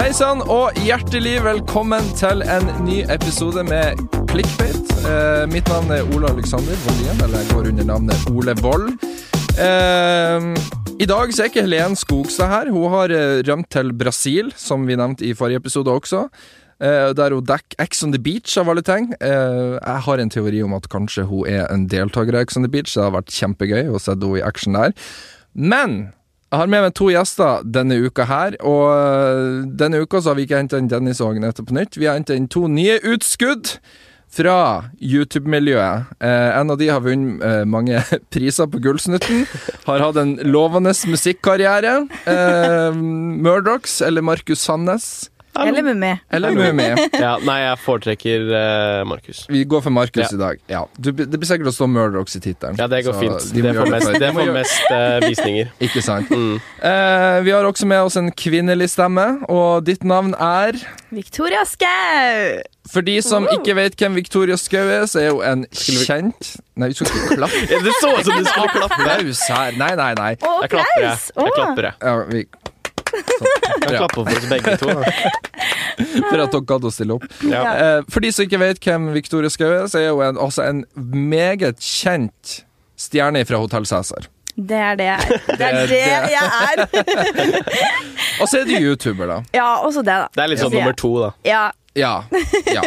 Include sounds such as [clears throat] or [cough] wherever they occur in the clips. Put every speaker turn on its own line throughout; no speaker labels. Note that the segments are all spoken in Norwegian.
Hei sann, og hjertelig velkommen til en ny episode med Clickbait. Eh, mitt navn er Ole Alexander Vollien, eller jeg går under navnet Ole Voll. Eh, I dag så er ikke Helen Skogstad her. Hun har eh, rømt til Brasil, som vi nevnte i forrige episode også. Eh, der hun dekker X on the Beach av alle ting. Eh, jeg har en teori om at kanskje hun er en deltaker av X on the Beach. Det har vært kjempegøy å se henne i action der. Men jeg har med meg to gjester denne uka her, og øh, denne uka så har vi ikke henta inn Dennis og Agnete på nytt. Vi har henta inn to nye utskudd fra YouTube-miljøet. Eh, en av de har vunnet eh, mange [laughs] priser på Gullsnutten. Har hatt en lovende musikkarriere. Eh, Murdochs eller Markus Sandnes.
Eller med meg.
Eller Mummi.
Ja, nei, jeg foretrekker eh, Markus.
Vi går for Markus
Ja.
i dag. Ja. Du, det blir sikkert å stå Murdochs i tittelen.
Ja, det går
Så
fint.
de må
Det
gjøre
får mest,
for-
det
de må
får
gjøre-
mest eh, visninger.
Ikke sant.
Mm.
Eh, vi har også med oss en kvinnelig stemme, og ditt navn er
Victoria Skau!
For de som ikke vet hvem Victoria Skau er, så er hun en
vi-
kjent Nei, vi skal ikke
[laughs]
klappe.
Det så ut som du skulle klappe.
Applaus her. Nei, nei, nei.
Og
Jeg klapper, jeg.
applaus!
Jeg
Å,
klapper, jeg.
Ja, vi,
Jeg klapper for oss begge to.
for at dere gadd å stille opp.
[laughs] Ja.
Eh, for de som ikke vet hvem Victoria Skau er, så er hun en, altså en meget kjent stjerne fra Hotell Cæsar.
Det er det
[laughs]
jeg er. Det
er
er det jeg er.
Og så er du YouTuber, da.
Ja, også det, da.
Det er litt sånn
Ja.
nummer to, da.
Ja,
Ja. ja.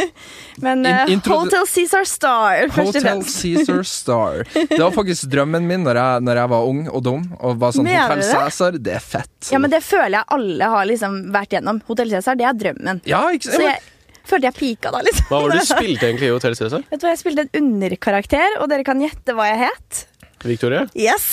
Men
In-
eh,
introdu-
Hotel Cæsar Star, først og [laughs]
Hotel
fremst.
Cæsar Star. Det var faktisk drømmen min når jeg, når jeg var ung og dum. Og var sånn,
Mener du
Hotel
det?
Cæsar, det er fett.
Ja, men det føler jeg alle har liksom vært gjennom. Hotel Cæsar, det er drømmen.
Ja, ikke
Så
sant?
jeg følte jeg pika da, liksom.
Hva var [laughs] det du spilte egentlig i Hotell Cæsar?
[laughs] Vet du hva, jeg spilte en underkarakter, og dere kan gjette hva jeg het.
Victoria?
Yes!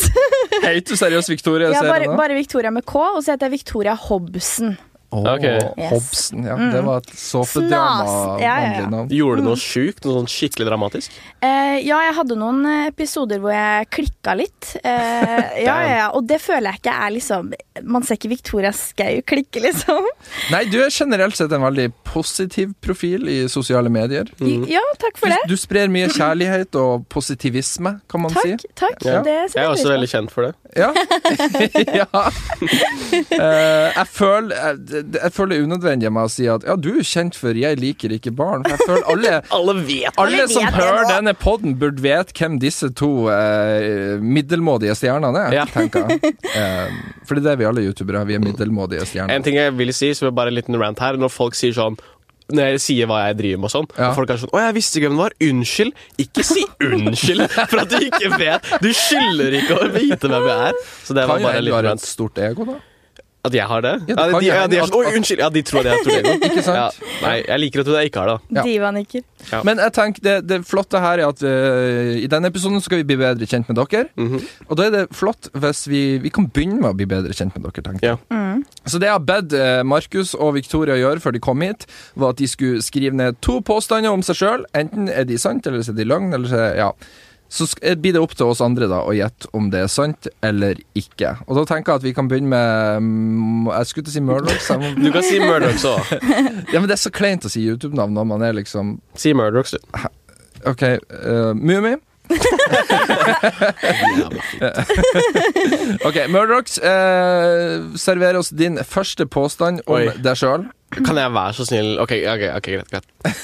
Heter du seriøst Victoria?
Jeg er
ser jeg
bare,
nå?
bare Victoria med K, og så heter jeg Victoria Hobson.
Åh,
Ok.
Yes. Mm.
Hobson, ja. Det var et såpedrama.
Snas. Ja, ja, ja.
vanlig navn.
Gjorde du noe sjukt? Noe sånn skikkelig dramatisk?
Eh, ja, jeg hadde noen eh, episoder hvor jeg klikka litt. Eh, ja, ja, ja, og det føler jeg ikke er liksom Man ser ikke Victoria Skau klikke, liksom.
Nei, du er generelt sett en veldig positiv profil i sosiale medier.
[laughs] Ja, takk for
Du,
det.
du sprer mye kjærlighet og positivisme, kan man
Takk.
si.
takk.
Ja.
Det
Jeg er
setter
også veldig
jeg pris på.
kjent for det.
Ja. [laughs] ja. Eh, jeg, føler, jeg, det- jeg føler det er unødvendig av meg å si at ja, du er kjent for 'Jeg liker ikke barn'. For jeg føler alle,
Alle vet
alle
Alle
som
vet det
hører
nå.
denne poden, burde vite hvem disse to eh, middelmådige stjernene er,
Ja.
tenker jeg. Eh, for det er det vi alle youtubere. Vi er middelmådige stjerner.
En ting jeg vil si, som er bare en liten rant her, når folk sier sånn når jeg sier hva jeg driver med og sånn,
Ja.
og folk er sånn 'Å, jeg visste ikke hvem det var. Unnskyld.' Ikke si unnskyld for at du ikke vet. Du skylder ikke å vite hvem jeg er. Så det
Kan
var
jo
bare en
hende du
liten
har et
rant.
stort ego, da.
At jeg har det?
Ja, det
Ja,
kan
de,
jo
ja, de er
hende
sånn 'Oi,
at-
unnskyld.' Ja, de tror at jeg har
[laughs]
Tornado.
Ikke
Ja,
sant?
nei, jeg liker at du ikke har det.
Ja.
Divanikker.
Men jeg tenker det, det flotte her er at øh, i denne episoden skal vi bli bedre kjent med dere.
Mhm.
Og da er det flott hvis vi, vi kan begynne med å bli bedre kjent med dere. tenker jeg. Så det jeg har bedt eh, Markus og Victoria gjøre før de kom hit, var at de skulle skrive ned to påstander om seg sjøl. Enten er de sant, eller så er de løgn. eller Så ja. Så sk- eh, blir det opp til oss andre da å gjette om det er sant eller ikke. Og da tenker jeg at vi kan begynne med mm, Jeg skulle til å si Murdochs. jeg
[laughs]
må-
Du kan si Murdochs òg.
Ja, men det er så kleint å si YouTube-navn når man er liksom
Si Murdochs, du.
OK, uh, Mummi. Ok, Murdochs, eh, server oss din første påstand om
Oi.
deg sjøl.
Kan jeg være så snill Ok, ok, ok, greit.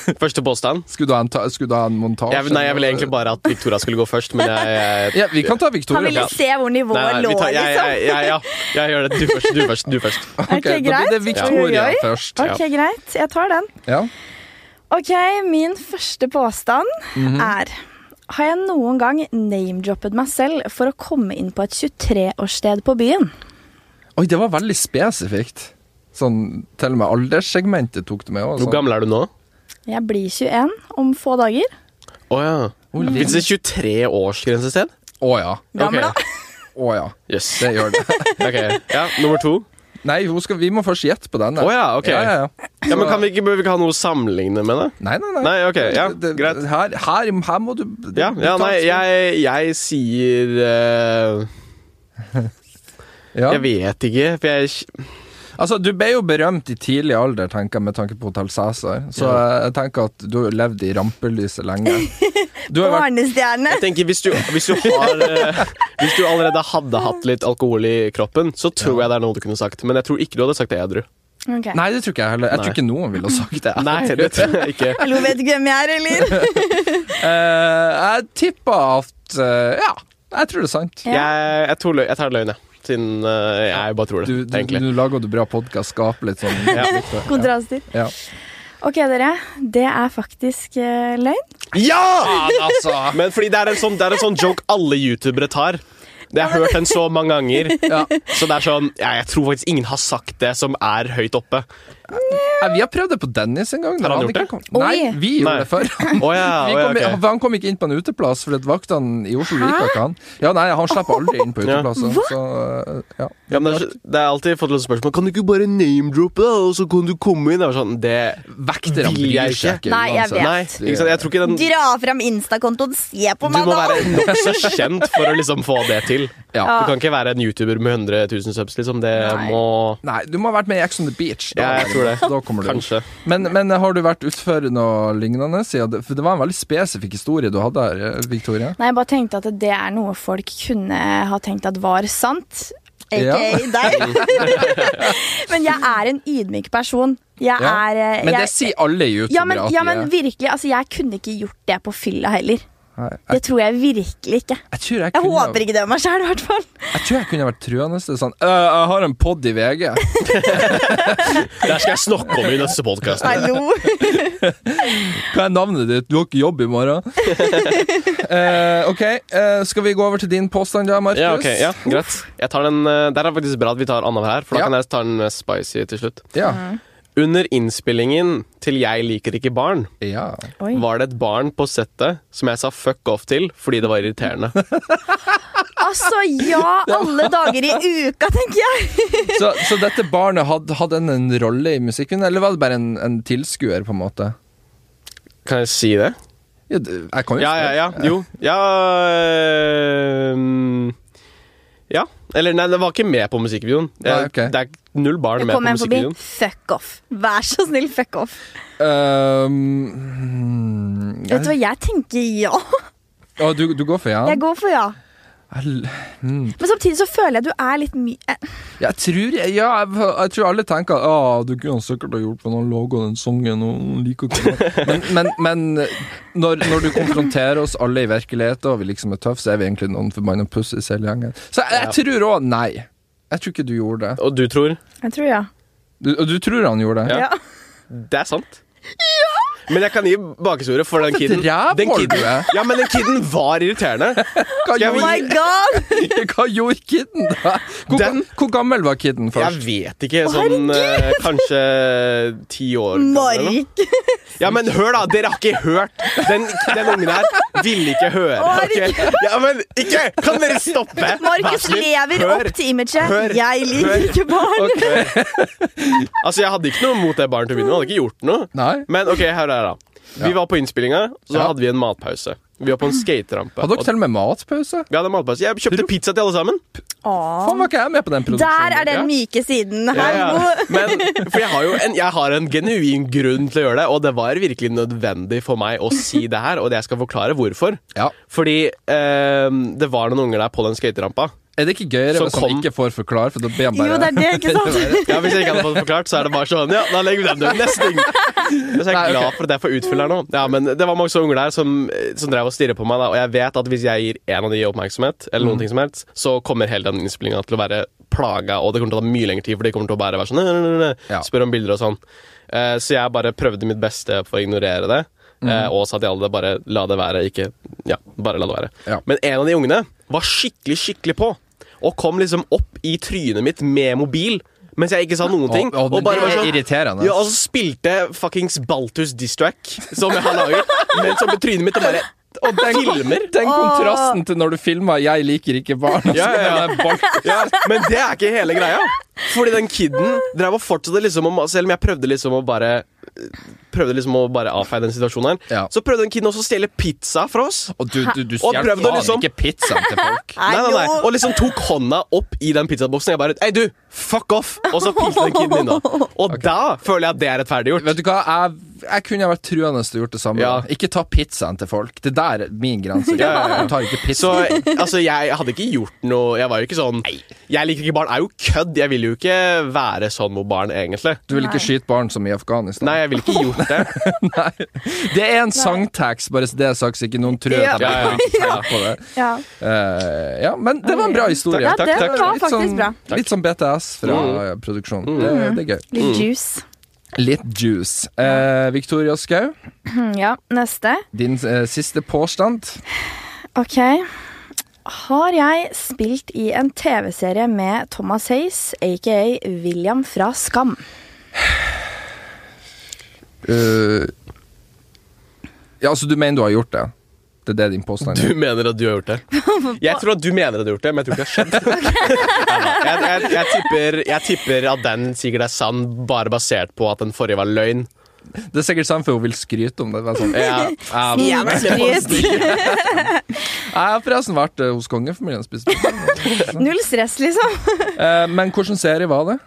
greit Første påstand.
Skulle du ha en, ta skulle du ha en montasje?
Jeg, nei, jeg ville egentlig bare at Victoria skulle gå først, men jeg, jeg
ja, Vi kan ta
Han
Victoria.
ville se hvor nivået
Nei, nei,
lå,
vi tar, jeg,
liksom.
jeg, jeg, ja, jeg gjør det. Du først. Du først. Du først.
Ok,
Ok,
da blir det
greit.
Victoria
Oi, oi, oi.
først.
Ok, greit. Jeg tar den.
Ja.
Ok, min første påstand er Har jeg noen gang name-droppet meg selv for å komme inn på et 23-årssted på byen?
Oi, det var veldig spesifikt. Sånn, Til og med alderssegmentet tok det med. Også, sånn.
Hvor gammel er du nå?
Jeg blir 21 om få dager.
Å ja. Fins det 23-årsgrense et sted?
Å ja.
Gammel, da.
Ok.
Å ja.
Jøss.
Det gjør det. [laughs]
Ok, ja, Nummer to.
Nei, hun skal, vi må først gjette på den.
Å ja, ok.
Ja, ja, ja.
Ja, men kan vi ikke, Bør vi ikke ha noe å sammenligne med, da?
Nei, nei, nei.
Nei, ok, ja,
Det- det-
greit.
Her, her, her må du
Ja, ja nei, jeg, jeg sier eh,
Ja.
Jeg vet ikke, for jeg
Altså, Du ble jo berømt i tidlig alder, tenker jeg, med tanke på Hotell Cæsar. Så jeg tenker at du har levd i rampelyset lenge.
[laughs]
Du har vært
Barnestjerne.
Jeg tenker hvis du, hvis du har eh, Hvis du allerede hadde hatt litt alkohol i kroppen, så tror jeg det er noe du kunne sagt. Men jeg tror ikke du hadde sagt det edru.
Ok.
[laughs] Nei, det tror ikke jeg heller. Jeg tror
Nei.
ikke noen ville ha
[laughs]
sagt det.
Nei, det tror jeg ikke.
Hallo, vet du hvem jeg er,
[laughs]
eller?
Eh, jeg tippa at eh, Ja, jeg tror det er sant.
Ja.
Jeg, jeg, tror lø jeg tar løgn, jeg. Siden eh, jeg bare tror det,
Du, du,
egentlig.
du lager du bra podkast, skaper litt sånn
Ja.
Kontraster.
[laughs] Ja.
Ok, dere. Det er faktisk eh, løgn.
ja!
Altså,
Men fordi det er en sånn, det er en sånn joke alle youtubere tar. Jeg har hørt den så mange ganger.
[laughs] ja.
Så det er sånn, ja, Jeg tror faktisk ingen har sagt det som er høyt oppe.
Eh, Vi har prøvd det på Dennis en gang.
Har han gjort
ikke
det?
kom-
Oi.
Nei, vi
Nei.
gjorde det før. [laughs]
Å [laughs] ja,
Vi
å ja,
kom, i-
ok.
Han kom ikke inn på en uteplass fordi at vaktene i Oslo liker ikke han. Ja, nei, Han slipper aldri inn på
Ja.
uteplasser. Så, eh, ja.
ja, men det, er, så- det er alltid fått litt spørsmål Kan du ikke bare name-droppe, da, og så kan du komme inn? Det er sånn, det
Vekterne
Vil jeg
bryr seg ikke.
Nei, jeg
uansett.
vet.
Nei, ikke sant? Jeg
Mm.
tror ikke den Du
Dra fram Insta-kontoen, se på meg,
må
da!
være nokså kjent for å liksom få det
[laughs]
til.
Ja.
Du kan ikke være en YouTuber med 100 000 subs, liksom. Det
Nei.
må
Nei, du må ha vært med i Ex on the Beach.
Ja, jeg tror det.
Da kommer du opp.
Kanskje.
Men, men har du vært utfor noe lignende? siden det- For det var en veldig spesifikk historie du hadde her, eh, Victoria.
Nei, jeg bare tenkte at det er noe folk kunne ha tenkt at var sant. Ikke
Ja. [laughs]
deg. [laughs] men jeg er en ydmyk person. Jeg
Ja.
er eh,
Men det
jeg,
sier alle youtubere
ja, men,
at
ja,
de
men
er.
virkelig. Altså, jeg kunne ikke gjort det på fylla heller.
Nei, jeg,
Det tror jeg virkelig ikke.
jeg, tror jeg,
Jeg
kunne,
håper ikke det om meg sjæl, i hvert
[laughs]
fall.
jeg tror jeg kunne vært truende. Det er sånn «Øh, Jeg har en pod i VG.
Der skal jeg snakke om i neste podkast.
Hallo.
Hva er navnet ditt? Du har ikke jobb i
[laughs]
morgen. Eh, ok, eh, skal vi gå over til din påstand da, Markus?
Ja, ok, ja, greit jeg tar den, eh, Der er det faktisk bra at vi tar annenhver her, for da
Ja.
kan jeg ta den eh, spicy til slutt.
Ja.
Under innspillingen til Jeg liker ikke barn
ja.
Oi.
var det et barn på settet som jeg sa fuck off til fordi det var
[laughs]
irriterende.
Altså, ja, alle dager i uka, tenker jeg.
Så, så dette barnet hadde, hadde en, en rolle i musikken, eller var det bare en, en tilskuer, på en måte?
Kan jeg si det?
Ja, du- jeg kan jo
Ja, ja,
spørre.
ja. Jo. Ja eh, mm, Ja. Eller nei, det var ikke med på musikkvideoen. Det
Nei,
er,
ok.
det er null barn
Det
med på
kom en forbi.
musikkvideoen.
Fuck off. Vær så snill, fuck off.
Ehm,
Vet du hva, jeg tenker ja.
Å, du, du går for ja?
Jeg går for ja.
Jeg,
Men samtidig så føler jeg du er litt eh, mye
jeg tror Ja, jeg, jeg tror alle tenker at ah, du kunne sikkert ha gjort for noen laga den sangen og han liker ikke det». Men, men, men når, når du konfronterer oss alle i virkeligheten og vi liksom er tøffe, så er vi egentlig noen forbanna pussis hele gjengen. Så jeg, jeg tror òg nei. Jeg tror ikke du gjorde det.
Og du tror
Jeg tror ja.
Du, og du tror han gjorde det?
Ja. Det er sant. Men jeg kan gi bakhistorie for den
For et
kiden.
rævhål
Den kiden,
du er.
ja, men den kiden var irriterende.
Hva,
Jeg
Oh
gjorde,
my
[laughs]
god!
hva gjorde [laughs] kiden, da? Hvor,
Den-
hvor gammel var kiden
Jeg
først?
vet ikke. Sånn eh, kanskje ti år. gammel eller noe.
Mark.
Ja, men hør, da! Dere har ikke hørt. Den, den ungen her ville ikke høre.
Å,
ok? Ja, men ikke! Kan dere stoppe? Vær
Markus
så snill,
lever
hør.
opp til imaget.
Hør.
Jeg liker
Hør.
ikke barn.
Altså, jeg hadde ikke noe mot det barnet til å begynne med. Jeg hadde ikke gjort noe.
Nei?
Men ok, her er det. da. Vi
Ja.
var på innspillinga, så
Ja.
hadde vi en matpause. Vi var på en skaterampe.
Hadde dere til og med matpause?
Vi hadde en matpause. Jeg kjøpte pizza til alle sammen.
Åh.
Faen, var ikke jeg med på den produksjonen?
Der er den
Ja.
myke siden.
Ja,
Hallo.
ja. [laughs] Men, for jeg har jo en, jeg har en genuin grunn til å gjøre det, og det var virkelig nødvendig for meg å si det her, og jeg skal forklare hvorfor.
Ja.
Fordi eh, det var noen unger der på den skaterampa.
Er det ikke gøyere
Som
hvis han
kom-
ikke får forklare, for da blir han bare
Jo, det er det,
[laughs]
ikke sant?
Ja, Hvis jeg ikke hadde fått forklart, så er det bare sånn Ja, da legger vi den død. Neste ting. Så jeg
Nei, ok.
er glad for at jeg får utfylle her nå. Ja, men Det var mange sånne unger der som, som drev og stirret på meg, da, og jeg vet at hvis jeg gir en av de oppmerksomhet, eller
Mm.
noen ting som helst, så kommer hele den innspillinga til å være plaga, og det kommer til å ta mye lengre tid, for de kommer til å bare være sånn «Nei, nei, nei, nei»,
Ja.
Spørre om bilder og sånn. Eh, så jeg bare prøvde mitt beste for å ignorere det, eh,
Mm.
og sa til alle bare la det være, ikke Ja, bare la det være.
Ja.
Men en av de ungene var skikkelig, skikkelig på. Og kom liksom opp i trynet mitt med mobil mens jeg ikke sa noen ting.
Å, å, men det
var sånn-
er irriterende.
Ja, og så spilte jeg fuckings Baltus Distrack, som jeg har laget, mens opp i trynet mitt og bare Og den filmer.
[laughs] Den kontrasten til når du filma 'Jeg liker ikke barn'. og så [laughs]
Ja, ja, ja.
er det bare-
Ja, men det er ikke hele greia. Fordi den kiden drev og fortsatte liksom å Selv om jeg prøvde liksom å bare Prøvde liksom å bare avfeie den situasjonen her,
Ja.
så prøvde den kiden også å stjele pizza fra oss.
Og du, du, du
[laughs] Og
stjeler
prøvde
faen
liksom-
ikke pizzaen til folk.
Nei, nei, nei.
Hallo.
Og liksom tok hånda opp i den pizzaboksen. Jeg bare Hei, du! Fuck off! Og så pilte den kiden innom. Og da føler jeg at det er rettferdiggjort.
[laughs] Vet du hva, jeg jeg kunne ha vært truende og gjort det samme.
Ja.
Ikke ta pizzaen til folk. Det der er min grense.
Ja, ja, ja.
Du tar ikke
Så
pizza.
altså, jeg hadde ikke gjort noe Jeg var jo ikke sånn Jeg liker ikke barn, er jo kødd. Jeg vil jo ikke være sånn mot barn, egentlig.
Du vil
Nei.
ikke skyte barn som i Afghanistan.
Nei, jeg ville ikke gjort det.
[laughs] Nei. Det er en sangtax, bare så det er sagt, så ikke noen tror
Ja.
at jeg
Ja, ja,
bruker penger på det.
Ja.
Eh, ja, men det var en bra historie.
Ja, det var
Litt
faktisk
sånn,
bra.
Litt sånn BTS fra
Mm.
produksjonen. Det, det er gøy.
Litt juice.
Litt juice. Eh, Victoria Skau,
Hm, Ja, neste.
din eh, siste påstand.
Ok. Har jeg spilt i en TV-serie med Thomas Hayes, aka William fra Skam?
Eh, ja, altså, du mener du har gjort det? Det er det din påstand
Du
er?
mener at du har gjort det. Jeg tror at du mener at du har gjort det, men jeg tror ikke det har [laughs] skjedd. Ja, Jeg, jeg, jeg, tipper, jeg tipper at den sikkert er sann, bare basert på at den forrige var løgn.
Det er sikkert sant, for hun vil skryte om det. men Sånn.
Ja, ja, men-
Ja, men skryt.
Jeg har forresten vært eh, hos kongefamilien og spist
[laughs]
pizza.
Null stress, liksom.
Eh, men hvilken serie var det?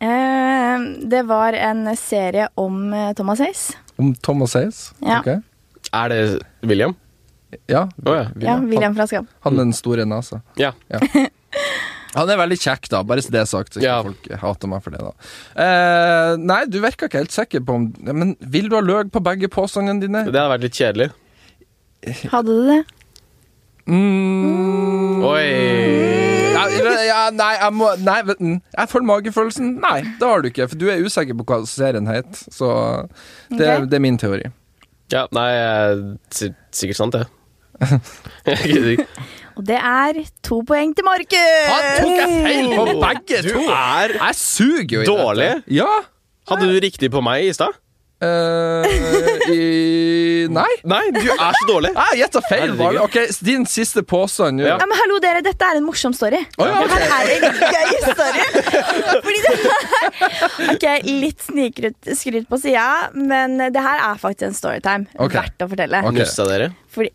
Eh, Det var en serie om eh, Thomas Hayes.
Om Thomas Hayes?
Ja.
Ok.
Er det William?
Ja,
Å, ja.
Ja, William fra Skam.
Han, han med den store nesa.
Ja.
Han er veldig kjekk, da, bare så det er sagt. Så ikke
Ja.
folk hater meg for det, da. Eh, nei, du virker ikke helt sikker på om Men vil du ha løg på begge påstandene dine?
Det hadde vært litt kjedelig.
Hadde du det?
Mm.
Oi.
Ja, ja, nei, jeg må Nei, vet du, jeg følger magefølelsen. Nei, det har du ikke, for du er usikker på hva serien het. Så det,
Ok.
det er min teori.
Ja, nei, jeg- si- sikkert sant, [laughs] det. Jeg gidder ikke.
Og det er to poeng til
Han
Markus!
Ah, tok jeg feil på begge
Du
to!
er
Jeg suger jo i
Dårlig.
dette. Ja.
Hadde du riktig på meg i stad?
Eh, i, nei.
Nei, du er så dårlig.
Jeg gjetta feil.
Herregud.
Bare. Ok, Din siste påstand nå.
Ja.
Ja, men hallo dere, Dette er en morsom story.
Å, ja, ok.
Det her er en gøy story. Fordi det her Ok, Litt snikryt- skryt på sida, men det her er faktisk en storytime.
Ok.
Verdt å fortelle.
Ok.
Nussa dere.
Fordi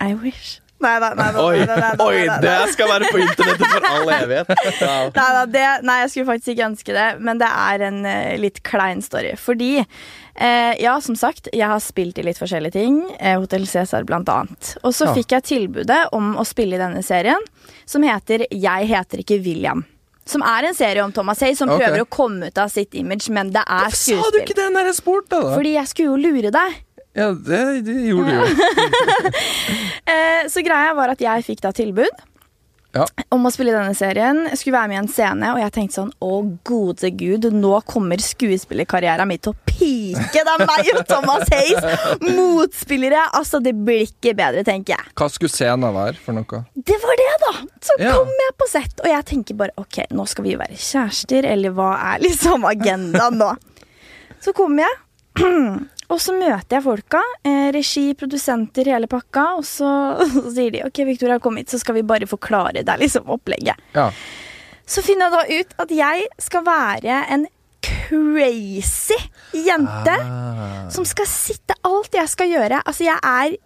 I wish. Nei da, nei da.
Oi,
nei da, nei da,
oi,
nei da,
det skal være på internettet for all evighet. Ja.
Nei, da, det, nei, jeg skulle faktisk ikke ønske det, men det er en eh, litt klein story. Fordi, eh, ja, som sagt, jeg har spilt i litt forskjellige ting. Eh, Hotell Cæsar blant annet. Og så
Ja.
fikk jeg tilbudet om å spille i denne serien, som heter Jeg heter ikke William. Som er en serie om Thomas Hay, som
Ok.
prøver å komme ut av sitt image, men det er
Sa du
skuespill.
ikke det når jeg spurte, da?
Fordi jeg skulle jo lure deg.
Ja, det, det gjorde du
[laughs]
jo.
Eh, så greia var at jeg fikk da tilbud.
Ja.
om å spille i denne serien. Jeg skulle være med i en scene, og jeg tenkte sånn Å, gode gud, nå kommer skuespillerkarrieren min til å pike! Det er meg og Thomas Hayes! Motspillere! Altså, det blir ikke bedre, tenker jeg.
Hva skulle scenen være for noe?
Det var det, da! Så
Ja.
kom jeg på sett, og jeg tenker bare OK, nå skal vi være kjærester, eller hva er liksom
[laughs]
agendaen nå? Så kommer jeg, [clears throat] og så møter jeg folka. Eh, regi, produsenter, hele pakka. Og så, [laughs] så sier de OK, Victoria, kom hit, så skal vi bare forklare deg liksom opplegget.
Ja.
Så finner jeg da ut at jeg skal være en crazy jente
Ah.
som skal sitte alt jeg skal gjøre. Altså, jeg er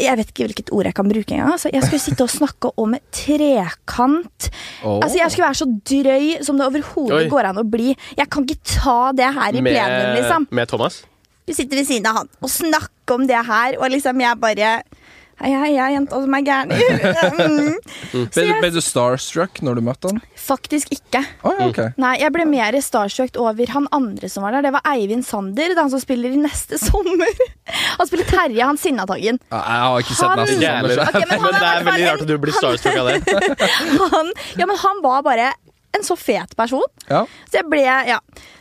Jeg vet ikke hvilket ord jeg kan bruke engang. Altså, jeg skulle sitte og snakke om trekant.
Åh.
Altså, jeg skulle være så drøy som det
Oi.
overhodet går an å bli. Jeg kan ikke ta det her i plenum,
Med,
liksom.
med Thomas.
Du sitter ved siden av han og snakker om det her, og liksom jeg bare Hei, hei, jeg er jenta som er gæren. Mm.
Ble, du- ble du starstruck når du møtte han?
Faktisk ikke.
Å ja, ok.
Nei, jeg ble mer starstruck over han andre som var der. Det var Eivind Sander. Det er han som spiller i Neste [laughs] sommer. Han spiller Terje, han Sinnataggen.
Ja, Jeg har ikke sett
Han-
nesten
Ikke jeg
sånn,
heller.
Ok, men han
men det
er i hvert
er
fall
veldig
en-
rart at du blir starstruck av [laughs] det.
Han, ja, men han var bare en så fet person.
Ja.
Så jeg ble, ja.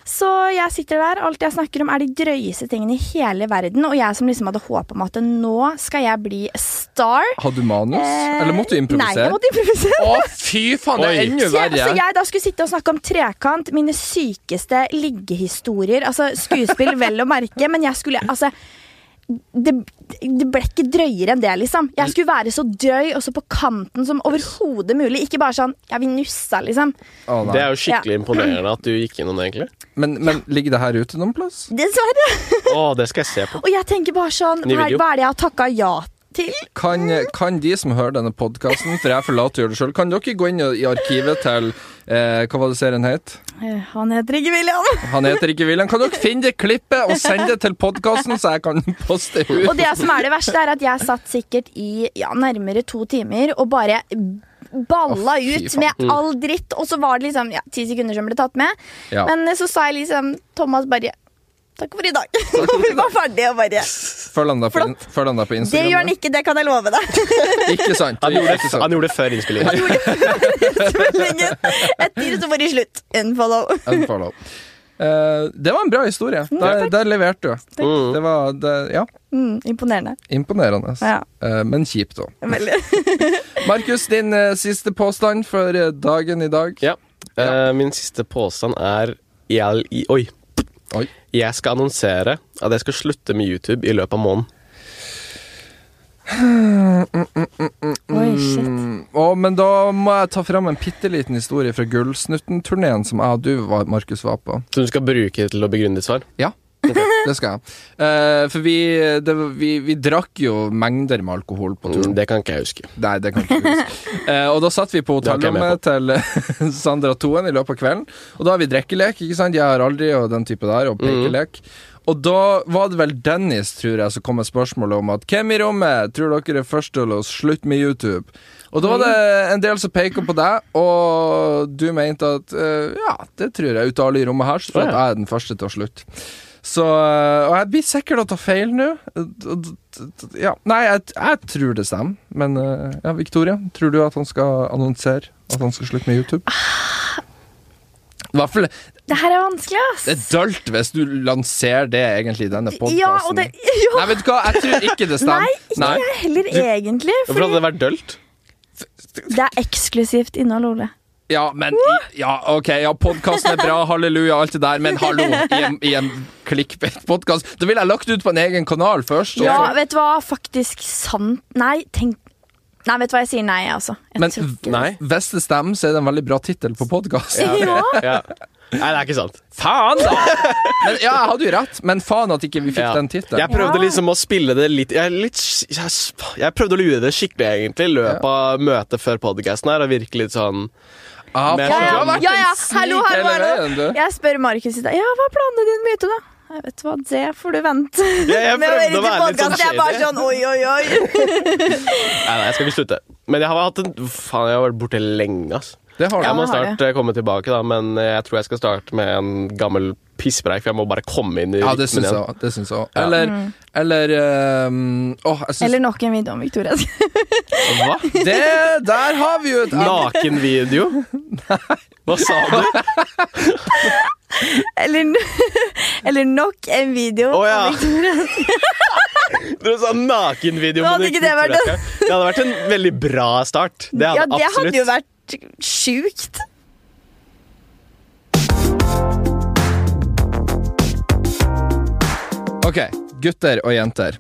Så jeg sitter der, alt jeg snakker om er de drøyeste tingene i hele verden, og jeg som liksom hadde håp om at nå skal jeg bli star.
Hadde du manus,
Eh,
eller måtte du
Nei, jeg
improvisere?
måtte improvisere.
Å, fy faen, det er
Oi.
enda
Så jeg, så
verre!
jeg da skulle sitte og snakke om trekant, mine sykeste liggehistorier. Altså skuespill, vel å merke, men jeg skulle altså det, det ble ikke drøyere enn det, liksom. Jeg skulle være så drøy og så på kanten som overhodet mulig. Ikke bare sånn Ja, vi nussa, liksom.
Å, nei.
Det er jo skikkelig imponerende at du gikk innom det, egentlig.
men, men ligger det her ute noen plass?
Dessverre.
Å, det skal jeg se på.
Og jeg tenker bare sånn
Ny
her,
video.
Hva er det jeg har takka ja til.
Kan,
Eh.
kan de som hører denne podkasten, for jeg forlater å gjøre det sjøl, kan dere gå inn i arkivet til eh, Hva var det serien het?
Eh, Han heter ikke William.
Han heter ikke William. Kan dere finne det klippet og sende det til podkasten, så jeg kan poste det
Og
ut?
det som er det verste, er at jeg satt sikkert i ja, nærmere to timer og bare
Å,
balla
fy
ut
faen. Mm.
med all dritt. Og så var det liksom ja, ti sekunder som ble tatt med.
Ja.
Men eh, så sa jeg liksom Thomas bare Takk for i dag. [laughs] Og vi var ferdige og bare
[laughs] Følg han deg på, in- følg han deg på
Det
Instagram.
gjør han
da.
ikke, det kan jeg love deg. [laughs]
Ikke sant.
Han gjorde,
ikke
det,
sant.
han gjorde det før innspillingen.
Han gjorde det før meldingen. Etter så var det slutt. Unfollow.
Unfollow. Eh, det var en bra historie. Der, der leverte du.
Mm.
Det var det, Ja,
Mm, imponerende.
imponerende.
Ja.
Eh, men kjipt òg.
Veldig. [laughs]
Markus, din eh, siste påstand for eh, dagen i dag.
Ja. Eh, min siste påstand er jeg, i- Oi.
Oi.
Jeg skal annonsere at jeg skal slutte med YouTube i løpet av måneden.
Oi, shit.
Mm, å, men da må jeg ta fram en bitte liten historie fra Gullsnutten-turneen som jeg og du, var, Markus, var på.
Så du skal bruke det til å begrunne ditt svar?
Ja. [laughs] Det skal jeg. Eh, for vi, det, var- vi, vi drakk jo mengder med alkohol på turen.
Mm, Det kan ikke jeg huske.
Nei, det kan ikke jeg
[laughs]
huske. Eh, og da satt vi på
Det var ikke jeg med
hotellrommet til eh, [laughs] Sandra Toen i løpet av kvelden. Og da har vi drikkelek, ikke sant? Jeg har aldri og den type der, og
Mhm.
pekelek. Og da var det vel Dennis, tror jeg, som kom med spørsmålet om at hvem i rommet tror dere er først til å slutte med YouTube? Og da var det
Mhm.
en del som peker på deg, og du mente at eh, ja, det tror jeg, ut av alle i rommet her, så tror jeg at jeg er den første til å slutte. Så øh, Og jeg blir sikkert å ta feil nå. D- d- d- d- Ja. Nei, jeg, jeg tror det stemmer. Men øh, ja, Victoria, tror du at han skal annonsere at han skal slutte med YouTube? I hvert fall Det
Det her er vanskelig, ass.
er dølt hvis du lanserer det egentlig i denne podkasten.
Ja, og det [laughs] ja.
Nei, vet du hva, jeg tror ikke
[laughs]
det stemmer.
Nei, ikke jeg heller, egentlig.
Hvorfor hadde
Fordi
det vært dølt?
det er eksklusivt innhold, Ole.
Ja, men i, Ja, OK, ja, podkasten er bra, halleluja, alt det der, men hallo, i en, i en clickbait-podkast Da ville jeg lagt ut på en egen kanal først. og så-
Ja, vet du hva? Faktisk sant Nei, tenk Nei, vet du hva? Jeg sier nei, altså. Jeg
Men
tror ikke det.
Nei.
hvis det stemmer, så er det en veldig bra tittel på podkast.
Ja.
[laughs] Ja. Nei, det er ikke sant.
Faen, da! Men, ja, jeg hadde jo rett, men faen at ikke vi fikk
Ja.
den
Jeg
tittelen.
prøvde
Ja.
liksom å spille det litt Jeg, er litt, sk- jeg, s- jeg prøvde å lure det skikkelig, egentlig, i løpet av møtet før podkasten her, og virke litt sånn
Ah,
Men-
faen, du
Ja, ja,
har vært
ja, ja.
en snik
Hallo, hallo,
hele veien,
hallo.
du.
Jeg spør Markus i dag. Ja, hva er planene dine med YouTube, da? Jeg vet du hva, det får du vente. [laughs]
jeg
Med å
prøvde
høre
å være litt
til podcast,
sånn
Jeg er bare
shady.
sånn oi, oi, oi.
Nei, nei, jeg skal ikke slutte. Men jeg har hatt en Faen, jeg har vært borte lenge, ass.
Det har
Jeg
du.
må
men har
snart eh, komme tilbake, da, men eh, jeg tror jeg skal starte med en gammel pisspreik, for jeg må bare komme inn i
Ja, det syns
rytmen
jeg
igjen.
òg. Det syns jeg òg.
Ja.
Eller, eller ehm, åh, jeg syns
Mm. Eller nok en video om Victoria. [laughs]
Hva?
Det Der har vi jo et [laughs]
Nakenvideo? Hva sa du?
Eller, [laughs] eller nok en video.
Å ja. [laughs] Du sa
Nå
nakenvideo. men
hadde ikke det vært
kutter deg ikke. Det hadde vært en veldig bra start. Det hadde
ja, det
absolutt.
hadde jo vært sjukt.
Ok, gutter og jenter.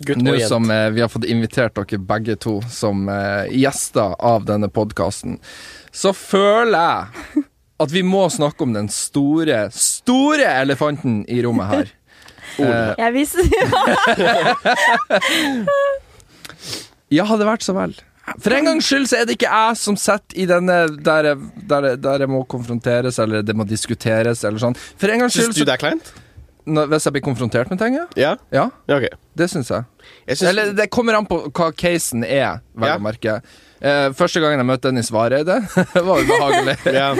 Gutt
Nå
og jente.
som eh, vi har fått invitert dere begge to som eh, gjester av denne podkasten, så føler jeg at vi må snakke om den store, store elefanten i rommet her. Eh,
Jeg visste ja.
ja, hadde vært så vel. For en gangs skyld så er det ikke jeg som sitter i denne der, jeg- der, jeg- der jeg må konfronteres, eller det må diskuteres, eller sånn. For en gangs skyld
Syns du
så,
det er kleint?
Nå, Hvis jeg blir konfrontert med ting, ja.
Ja?
ja
ja ok.
det syns jeg.
Jeg syns-
Eller det kommer an på hva casen er, vel
Ja.
å merke. Eh, første gangen jeg møtte Dennis Vareide, [laughs] var ubehagelig.
[laughs] ja.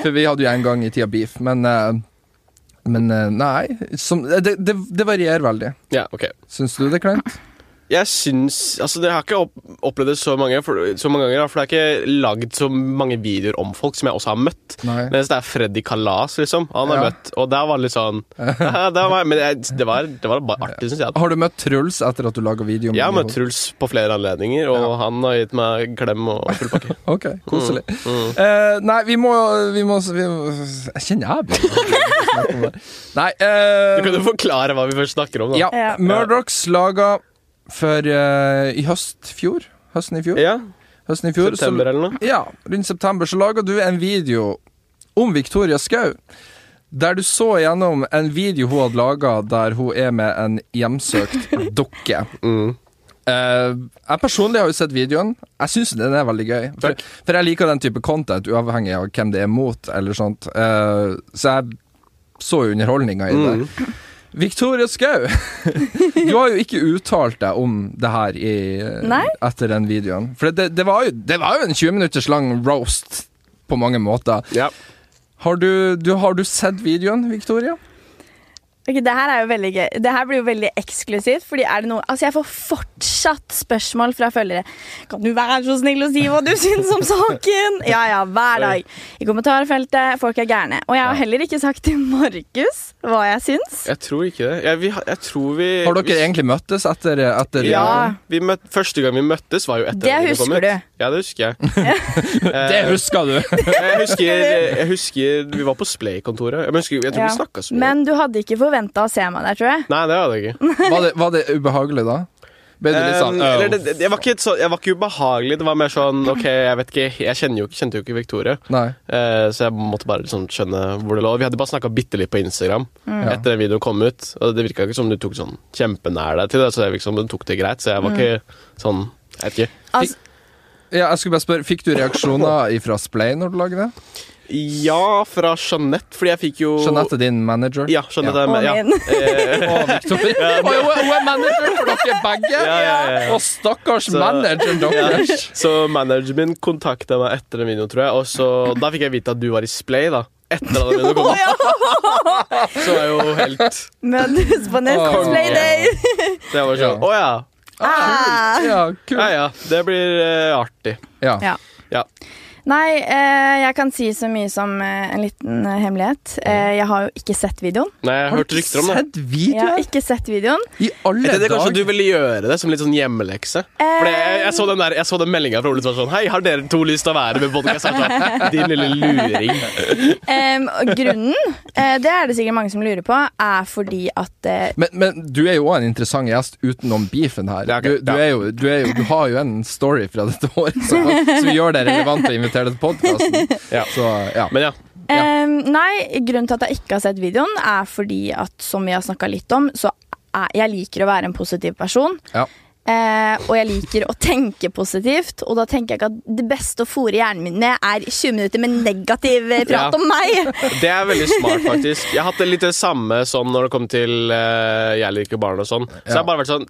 For vi hadde jo en gang i tida beef, men eh, Men eh, nei. Som, eh, det, det, det varierer veldig.
ja, ok.
Syns du det er kleint?
Jeg syns Altså, jeg har ikke opp opplevd det så mange, for, så mange ganger, da, for det er ikke lagd så mange videoer om folk som jeg også har møtt.
Nei.
Mens det er sånn Freddy Kalas, liksom. Han har
Ja.
møtt, og der var det litt
[laughs]
sånn det var, Men jeg, det, var, det var bare artig, syns jeg.
Har du møtt Truls etter at du laga video? om
Jeg har møtt
Hollywood?
Truls på flere anledninger, og han har gitt meg klem og
[laughs]
full pakke.
Ok, koselig.
mm.
Eh, nei, vi må, vi må vi, Jeg kjenner jeg begynner å snakke om det. Nei eh,
Du kan jo forklare hva vi først snakker om, da.
Ja,
Ja.
Murdrocks laga for eh, i høst fjor. Høsten i fjor.
Ja,
Høsten i fjor så-
September eller noe.
Ja, rundt september så laga du en video om Victoria Skau. Der du så gjennom en video hun hadde laga der hun er med en hjemsøkt dukke.
Mm.
Eh, jeg personlig har jo sett videoen. Jeg syns den er veldig gøy. For, for jeg liker den type content, uavhengig av hvem det er mot, eller sånt. Eh, så jeg så jo underholdninga i det. Victoria Skau, [laughs] du har jo ikke uttalt deg om det her i,
Nei.
etter den videoen. For det, det, var jo, det var jo en 20 minutters lang roast på mange måter.
Ja.
Har du, du, har du sett videoen, Victoria?
Ok, Det her er jo veldig gøy. Det her blir jo veldig eksklusivt. Fordi er det noe, altså Jeg får fortsatt spørsmål fra følgere. Kan du være så snill å si hva du syns om saken? Ja, ja, hver dag. I kommentarfeltet. Folk er gærne. Og jeg har heller ikke sagt til Markus hva jeg syns.
Jeg tror ikke det. Jeg, vi, har- jeg tror vi
Har dere
vi-
egentlig møttes etter, etter
Ja.
Vi møtt, første gang vi møttes, var jo etter
Det
at videoen
husker
kom ut.
du.
Ja, det husker
[laughs]
jeg.
[laughs] Det husker du!
jeg, husker, jeg husker Vi var på Splay-kontoret. Jeg, husker- jeg tror
Ja.
vi snakka så mye.
Men du hadde ikke forventa å se meg der, tror jeg.
Nei, det hadde jeg ikke.
Var det, var det ubehagelig da? Ble du litt sånn
Um,
«Åh,
eller, det, det, jeg, var ikke, så, jeg var ikke ubehagelig. Det var mer sånn OK, jeg vet ikke Jeg kjenner jo, ikke- kjente jo ikke Victoria,
Nei.
eh, så jeg måtte bare liksom skjønne hvor det lå. Vi hadde bare snakka bitte litt på Instagram etter den videoen kom ut, og det virka ikke som du tok sånn kjempenær deg til det, så jeg liksom, du tok det greit, så jeg var ikke sånn Jeg vet ikke.
Altså,
Ja, jeg skulle bare spørre, Fikk du
[laughs]
reaksjoner fra Splay når du lagde det?
Ja, fra Jeanette, fordi jeg fikk jo
Jeanette, din manager?
Ja, Jeanette er
og
med. Ja.
min.
Og
[laughs]
Victoria. Og hun er- hun er manager for dere begge!
Ja, ja, ja, ja.
Og stakkars
Så- [laughs]
manager deres!
Så manageren min kontakta meg etter den videoen, tror jeg. Og så, da fikk jeg vite at du var i Splay, da. Etter at den videoen kom.
[laughs]
Så er jo helt
Møtes på neste
Åh.
Playday.
Det var sånn Å ja.
Ah.
Ja,
Ja
kult.
ja. Det blir eh, artig.
Ja.
Ja.
Ja.
Nei, eh, jeg kan si så mye som eh, en liten eh, hemmelighet. Eh, jeg har jo ikke sett videoen.
Nei, jeg har hørt
ikke
rykter om det.
sett
Jeg har
videoen?
ikke sett videoen.
I alle
Jeg tenkte kanskje du
dager?
ville gjøre det som litt sånn hjemmelekse. For jeg, jeg, så den der- jeg så den meldinga fra Ole som var sånn Hei, har dere to lyst til å være med i podcast? Jeg var sånn, Din lille luring.
Em, og grunnen, eh, det er det sikkert mange som lurer på, er fordi at eh,
Men, men du er jo òg en interessant gjest utenom beefen her.
Ja, ok,
Du, du,
ja.
er jo, du, er jo, du har jo en story fra dette året som, som gjør det relevant å invitere deg til podkasten.
Ja.
Så ja.
Men ja.
em, Nei, grunnen til at jeg ikke har sett videoen, er fordi at, som vi har snakka litt om, så er, jeg liker å være en positiv person.
ja.
Eh, og jeg liker å tenke positivt, og da tenker jeg ikke at det beste å fòre hjernen min med, er 20 minutter med negativ eh, prat
Ja.
om meg.
Det er veldig smart, faktisk. Jeg har hatt det litt det samme sånn når det kom til eh, jeg liker barn og sånn. Så jeg har bare vært sånn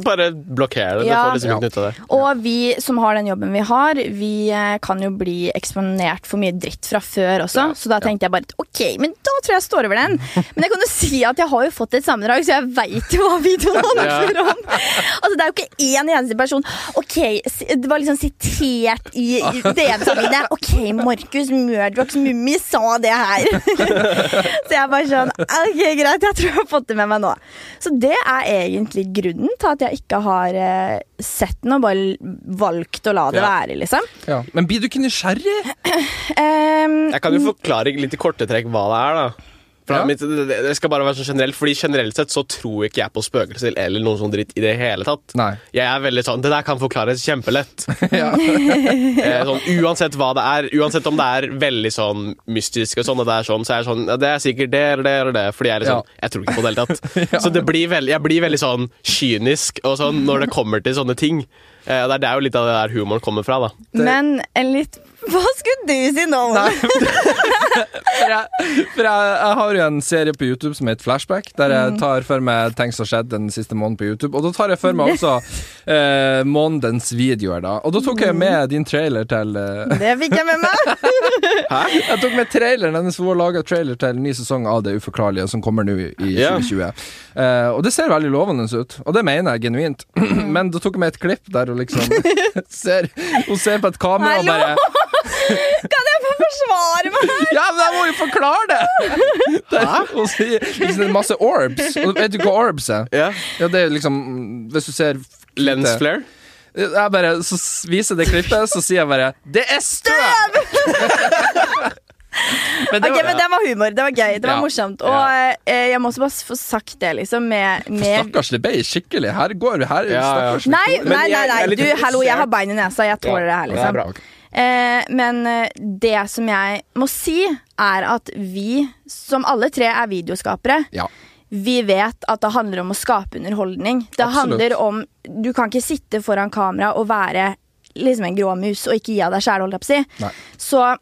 Bare blokker det. Du
Ja.
får liksom
Ja.
ikke nytte av det.
Og vi som har den jobben vi har, vi eh, kan jo bli eksponert for mye dritt fra før også. Så da tenkte jeg bare ok, men da tror jeg jeg står over den. Men jeg kan jo [laughs] si at jeg har jo fått et sammendrag, så jeg veit jo hva videoen handler om. Altså Det er jo ikke én eneste person. Ok, s- Det var liksom sitert i i DM-ene mine. Ok, Markus Murdrocks Mummi sa det her. Så jeg bare sånn Ok, greit, jeg tror jeg har fått det med meg nå. Så det er egentlig grunnen til at jeg ikke har eh, sett den og bare l- valgt å la det
Ja.
være, liksom.
ja. Men blir du ikke nysgjerrig?
Ehm,
Jeg kan jo forklare litt i korte trekk hva det er, da. Fra
Ja.
mitt, det, det- det skal bare være sånn generelt, fordi generelt sett så tror ikke jeg på spøkelser eller noe sånn dritt i det hele tatt.
Nei.
Jeg er veldig sånn Det der kan forklares
[laughs]
kjempelett. Eh, sånn, uansett hva det er, uansett om det er veldig sånn mystisk og sånn, og det er sånn, så er jeg sånn ja, Det er sikkert det eller det eller det, fordi jeg er
Ja.
liksom Jeg tror ikke på det i det
[laughs]
hele tatt. Så det blir veld, jeg blir veldig sånn kynisk og sånn når det kommer til sånne ting. Eh, og det er der jo litt av det der humoren kommer fra, da.
men en litt Hva skulle du si nå?
Nei. For, jeg, for jeg, jeg har jo en serie på YouTube som heter Flashback, der jeg tar for meg ting som har skjedd den siste måneden på YouTube. Og da tar jeg for meg også eh, månedens videoer, da. Og da tok jeg med din trailer til eh, [laughs]
Det fikk jeg med meg.
Jeg tok med traileren hennes for hun laga trailer til en ny sesong av Det uforklarlige, som kommer nå i i
Ja.
2020. Eh, og det ser veldig lovende ut, og det mener jeg genuint. [clears throat] Men da tok jeg med et klipp der hun liksom [laughs] ser Hun ser på et kamera og bare
Hallo! Kan jeg få forsvare meg?
Ja, men jeg må jo forklare det! Der, hun sier liksom, det er masse orbs. Og vet du hva orbs er?
Ja.
Ja, det er liksom Hvis du ser
Lens flare.
Jeg bare så s- viser det klippet, så sier jeg bare 'Det er støv!' [laughs] men [laughs] det
Ok,
var,
men Det var humor. Det var gøy. Det var
Ja.
morsomt. Og eh, jeg må også bare få sagt det, liksom, med, med
Stakkars, det ble skikkelig. Her går her,
Ja, ja.
stakkars.
Nei,
Men
nei, nei.
jeg- jeg er
nei.
litt
Du, hallo, jeg
interessert.
har bein i nesa. Jeg tåler det her,
Det er
liksom.
bra.
Eh, men eh, det som jeg må si, er at vi, som alle tre er videoskapere,
Ja.
vi vet at det handler om å skape underholdning. Det
Absolutt.
handler om Du kan ikke sitte foran kamera og være liksom en grå mus og ikke gi av deg sjæl, holdt jeg på å si.
Nei.
Så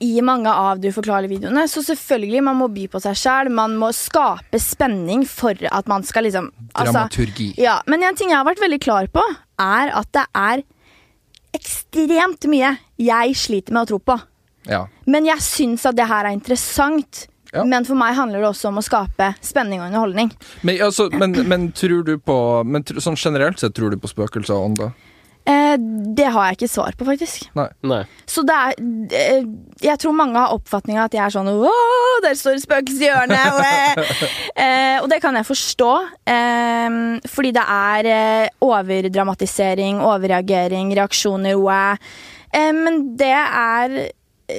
i mange av du forklarer videoene, så selvfølgelig man må by på seg sjæl. Man må skape spenning for at man skal liksom altså,
Dramaturgi.
ja, Men en ting jeg har vært veldig klar på, er at det er ekstremt mye jeg sliter med å tro på.
Ja.
Men jeg syns at det her er interessant.
Ja.
Men for meg handler det også om å skape spenning og underholdning.
Men, altså, men, men tror du på men, tr- Sånn generelt sett, tror du på spøkelser og ånder?
Eh, det har jeg ikke svar på, faktisk.
Nei.
Nei.
Så det er eh, Jeg tror mange har oppfatninga at jeg er sånn Åh, der står spøkelset i hjørnet! Og, eh, eh, og det kan jeg forstå. Eh, fordi det er eh, overdramatisering, overreagering, reaksjoner, wow. Eh, men det er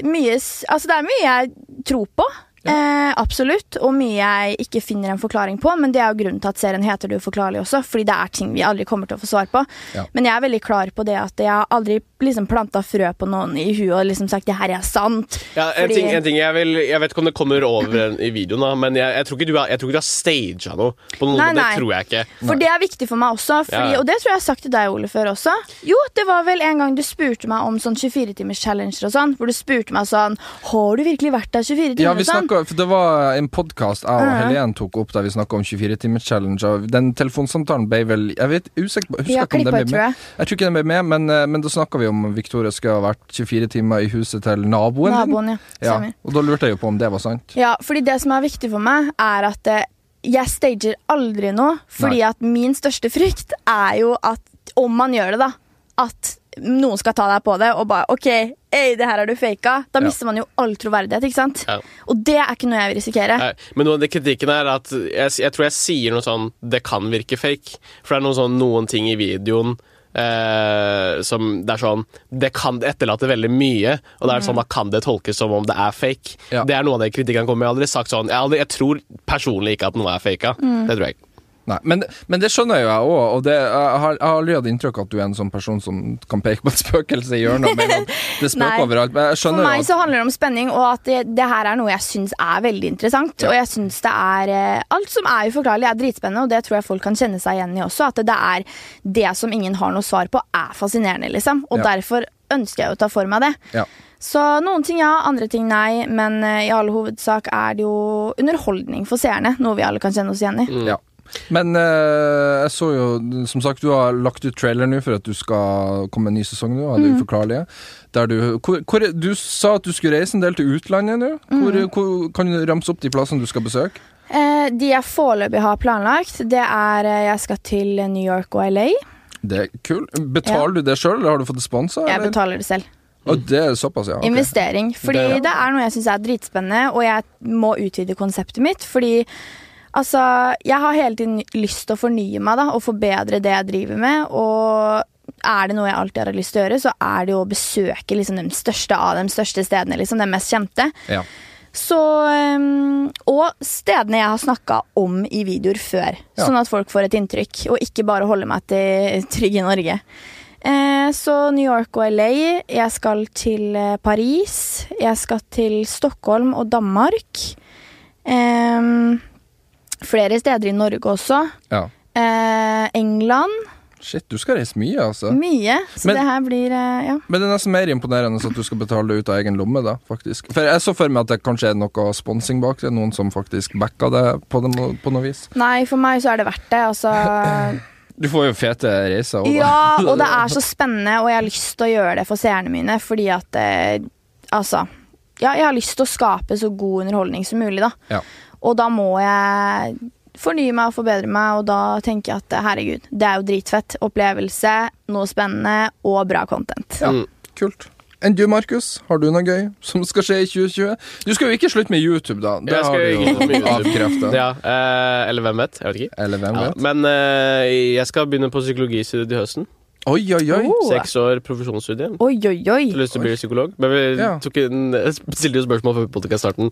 mye s- Altså, det er mye jeg tror på. Eh, absolutt. Og mye jeg ikke finner en forklaring på. Men det er jo grunnen til at serien heter Det uforklarlige også, fordi det er ting vi aldri kommer til å få svar på.
Ja.
Men jeg er veldig klar på det at jeg har aldri liksom planta frø på noen i huet og liksom sagt det her er sant.
Ja, en,
Fordi-
ting, en ting jeg vil Jeg vet ikke om det kommer over i videoen, da, men jeg, jeg, tror ikke du har, jeg tror ikke du har staged noe. På noen,
Nei, nei.
Det tror jeg ikke.
For det er viktig for meg også, fordi,
Ja, ja.
og det tror jeg jeg har sagt til deg, Ole, før også. Jo, det var vel en gang du spurte meg om sånn 24-timers-challenger og sånn, hvor du spurte meg sånn Har du virkelig vært der 24 timer?
Ja, vi
og sånn?
snakket, for Det var en podkast jeg og
Ja.
Helen tok opp der vi snakka om 24-timers-challenge. og Den telefonsamtalen ble vel Jeg vet, usikker, på- husker
Ja,
ikke om den ble med.
klippet, tror jeg.
Jeg tror ikke den ble med, men, eh, men da snakka vi om Victoria skulle ha vært 24 timer i huset til naboen. din.
Naboen, ja.
ja.
Stemmer.
Og da lurte jeg jo på om det var sant.
Ja, fordi det som er viktig for meg, er at eh, jeg stager aldri noe. Fordi
Nei.
at min største frykt er jo at om man gjør det, da At noen skal ta deg på det og bare OK, ei, det her er du faka. Da
Ja.
mister man jo all troverdighet, ikke sant?
Ja.
Og det er ikke noe jeg vil risikere.
Nei, Men noe av det kritikken er at jeg, jeg tror jeg sier noe sånn Det kan virke fake. For det er noe sånn, noen ting i videoen eh, som det er sånn Det kan etterlate veldig mye, og det er sånn, da kan det tolkes som om det er fake.
Ja.
Det er noe av det kritikken kommer med. Jeg har aldri sagt sånn Jeg, har aldri, jeg tror personlig ikke at noe er faka. Det tror jeg ikke.
Nei, men, men det skjønner jo jeg òg, og det, jeg har jeg har aldri hatt inntrykk av at du er en sånn person som kan peke på et [laughs] spøkelse i hjørnet. med en gang. Det
Nei.
spøker overalt. Men jeg
For
skjønner jo
meg
at
så handler det om spenning, og at det, det her er noe jeg syns er veldig interessant. Og jeg synes det er eh, Alt som er uforklarlig, er dritspennende, og det tror jeg folk kan kjenne seg igjen i også. At det, er det som ingen har noe svar på, er fascinerende, liksom. Og
Ja.
derfor ønsker jeg å ta for meg det.
ja.
Så noen ting ja, andre ting nei, men eh, i all hovedsak er det jo underholdning for seerne. Noe vi alle kan kjenne oss igjen i.
Ja. Men eh, jeg så jo, som sagt, du har lagt ut trailer nå for at du skal komme en ny sesong nå, av Det uforklarlige. Der du, hvor, hvor, du sa at du skulle reise en del til utlandet nå. Hvor, hvor, kan du ramse opp de plassene du skal besøke?
Eh, de jeg foreløpig har planlagt, det er eh, jeg skal til New York og LA.
Det er kult. Betaler du det sjøl, eller har du fått det sponsa?
Jeg
eller?
betaler det selv.
Å, det er såpass, ja. ok.
Investering. Fordi
Det-
det, er noe jeg syns er dritspennende, og jeg må utvide konseptet mitt. Fordi altså Jeg har hele tiden lyst til å fornye meg da, og forbedre det jeg driver med. Og er det noe jeg alltid har hatt lyst til å gjøre, så er det jo å besøke liksom, de største av de største stedene. Liksom, de mest kjente.
Ja.
Så, øhm, og stedene jeg har snakka om i videoer før,
Ja.
sånn at folk får et inntrykk, og ikke bare holder meg til trygg i Norge. Eh, så New York og LA. Jeg skal til eh, Paris. Jeg skal til Stockholm og Danmark. Ehm, flere steder i Norge også.
ja.
Eh, England.
Shit, du skal reise mye, altså.
Mye. Så
Men-
det her blir eh, Ja.
Men det er nesten mer imponerende at du skal betale det ut av egen lomme, da, faktisk. For jeg så for meg at det kanskje er noe sponsing bak det, noen som faktisk backa det på, den, på noe vis.
Nei, for meg så er det verdt det. Altså
[laughs] Du får jo fete reiser. også, da. [laughs]
Ja,
[laughs]
og det er så spennende, og jeg har lyst til å gjøre det for seerne mine, fordi at eh, Altså. Ja, jeg har lyst til å skape så god underholdning som mulig, da.
Ja.
Og da må jeg fornye meg og forbedre meg, og da tenker jeg at eh, herregud, det er jo dritfett. Opplevelse, noe spennende og bra content.
Ja, kult. Enn du, Markus? Har du noe gøy som skal skje i 2020? Du skal jo ikke slutte med YouTube, da. Det
Jeg
har
skal
du
ikke slutte
jo
med YouTube.
avkrefta.
Ja, eh, eller hvem vet? Jeg vet ikke.
Eller hvem
Ja,
vet?
men eh, jeg skal begynne på psykologistudiet i høsten.
Oi, oi, oi.
Oh.
Seks år profesjonsstudie.
Oi, oi,
Jeg
oi.
har lyst til å bli psykolog. Men vi
Ja.
tok en, stilte jo spørsmål før podkast-starten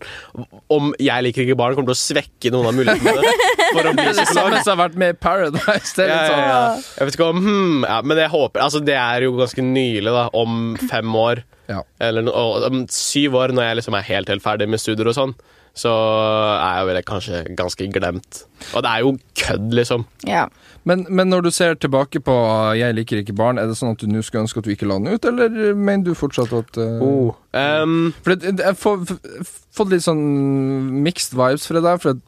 om jeg liker ikke barn kommer til å svekke noen av mulighetene for
[laughs] Det er
å bli
det
psykolog.
samme som har vært med i Paradise. Det er
Ja,
litt
ja,
sånn.
ja. Jeg vet ikke om hmm, ja, Men jeg håper Altså, det er jo ganske nylig, da. Om fem år.
Ja.
Eller no, og, om syv år, når jeg liksom er helt, helt ferdig med studier og sånn. så er jeg vel kanskje ganske glemt. Og det er jo kødd, liksom.
Ja.
Men, men når du ser tilbake på ah, 'Jeg liker ikke barn', er det sånn at du nå skulle ønske at du ikke la den ut, eller mener du fortsatt at eh,
Um,
For det, det- jeg får f- fått litt sånn mixed vibes fra deg, for at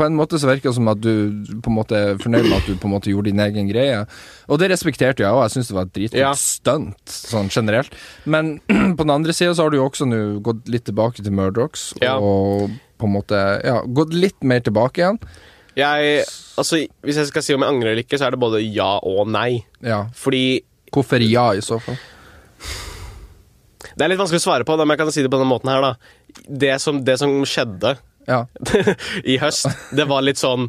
på en måte så virker det som at du på en måte er fornøyd med at du på en måte gjorde din egen greie. Og det respekterte jeg òg, jeg syns det var et dritkult
Ja.
stunt sånn generelt. Men [clears throat] på den andre sida så har du jo også nå gått litt tilbake til Murdrocks,
Ja.
og på en måte ja, gått litt mer tilbake igjen.
jeg, altså, hvis jeg skal si om jeg angrer eller ikke, så er det både ja og nei.
Ja.
Fordi
Hvorfor ja, i så fall?
Det er litt vanskelig å svare på, da, men jeg kan si det på denne måten her, da. Det som, det som skjedde [laughs]
Ja.
i høst, det var litt sånn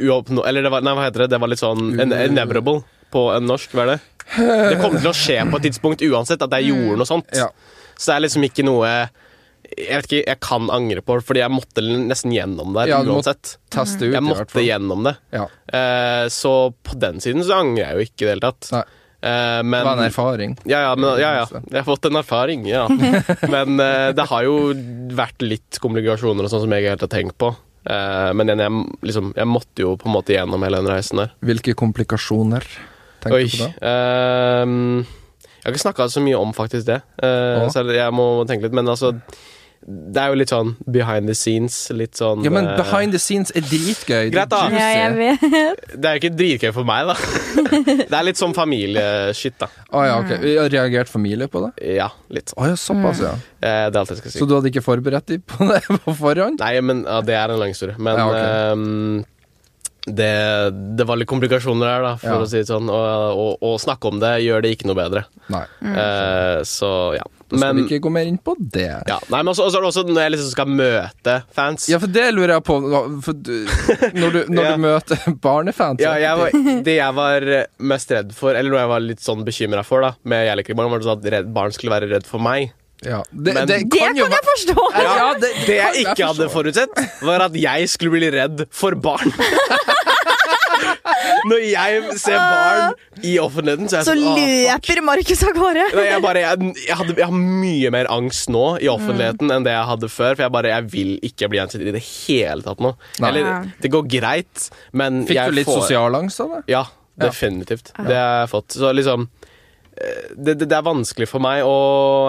uoppnå... Eller det var, nei, hva heter det? Det var litt sånn en- inevitable på en norsk, hva er det? Det kom til å skje på et tidspunkt uansett at jeg gjorde noe sånt.
Ja.
Så det er liksom ikke noe jeg vet ikke, jeg kan angre på, fordi jeg måtte nesten gjennom det
Ja, du må-
uansett.
Teste ut,
Jeg
i hvert
måtte
fall.
gjennom det.
Ja.
Eh, så på den siden så angrer jeg jo ikke i det hele tatt.
Nei.
Eh, men,
Det var en erfaring.
ja, ja, men, ja, ja. Jeg har fått en erfaring,
[laughs]
ja. Men eh, det har jo vært litt komplikasjoner og sånn som jeg ikke helt har tenkt på. Eh, men igjen, jeg, liksom, jeg måtte jo på en måte gjennom hele den reisen der.
Hvilke komplikasjoner tenker
Oi.
du på da?
ehm, jeg har ikke snakka så mye om faktisk det, eh,
Å.
så jeg må tenke litt. Men altså, det er jo litt sånn behind the scenes. Litt sånn
Ja, men
eh,
behind the scenes er dritgøy. Det er
Greit da.
juicy.
ja, jeg vet.
Det er jo ikke dritgøy for
[laughs]
meg, da. det er litt sånn familieshit, da.
Å Ah, ja, ok. Har reagert familie på det?
Ja, litt
Å Mm.
sånn.
Ah, ja, såpass, ja.
Eh, det er alt jeg skal si.
Så du hadde ikke forberedt dem på det [laughs] på forhånd?
Nei, men ja, det er en lang historie. Men
Ja, ok.
ehm, det, det var litt komplikasjoner her, da, for
Ja.
å si det sånn. Og, og, og snakke om det gjør det ikke noe bedre.
Nei.
Eh, så ja.
Da skal
Men,
vi ikke gå mer inn på det.
ja. Nei, men også, også er det også når jeg liksom skal møte fans.
Ja, for det lurer jeg på. hva- For du,
[laughs]
når du, når
Ja.
du møter [laughs] barnefans
Ja, jeg var, det jeg var eh, mest redd for, eller noe jeg var litt sånn bekymra for, da, med jeg liker ikke barn, var det sånn at redd, barn skulle være redd for meg.
Ja. Det,
Men-
det
Det
kan
kan
jo
jeg
være
forstå!
Ja, ja, det,
Det jeg ikke hadde
forstår.
forutsett, var at jeg skulle bli redd for barn. [laughs] Når jeg ser barn i offentligheten, så er
[laughs]
jeg
Så
sånn «Åh, fuck».
løper Markus av gårde.
Nei, jeg, bare, jeg, jeg, hadde, jeg har mye mer angst nå i offentligheten enn det jeg hadde før. For jeg bare, jeg vil ikke bli gjenkjent i det hele tatt nå.
Nei.
Eller, det går greit, men
Fikk
jeg
du litt
får,
sosial angst av det?
Ja, definitivt. Det har jeg fått. Så liksom eh, Det, det, det er vanskelig for meg å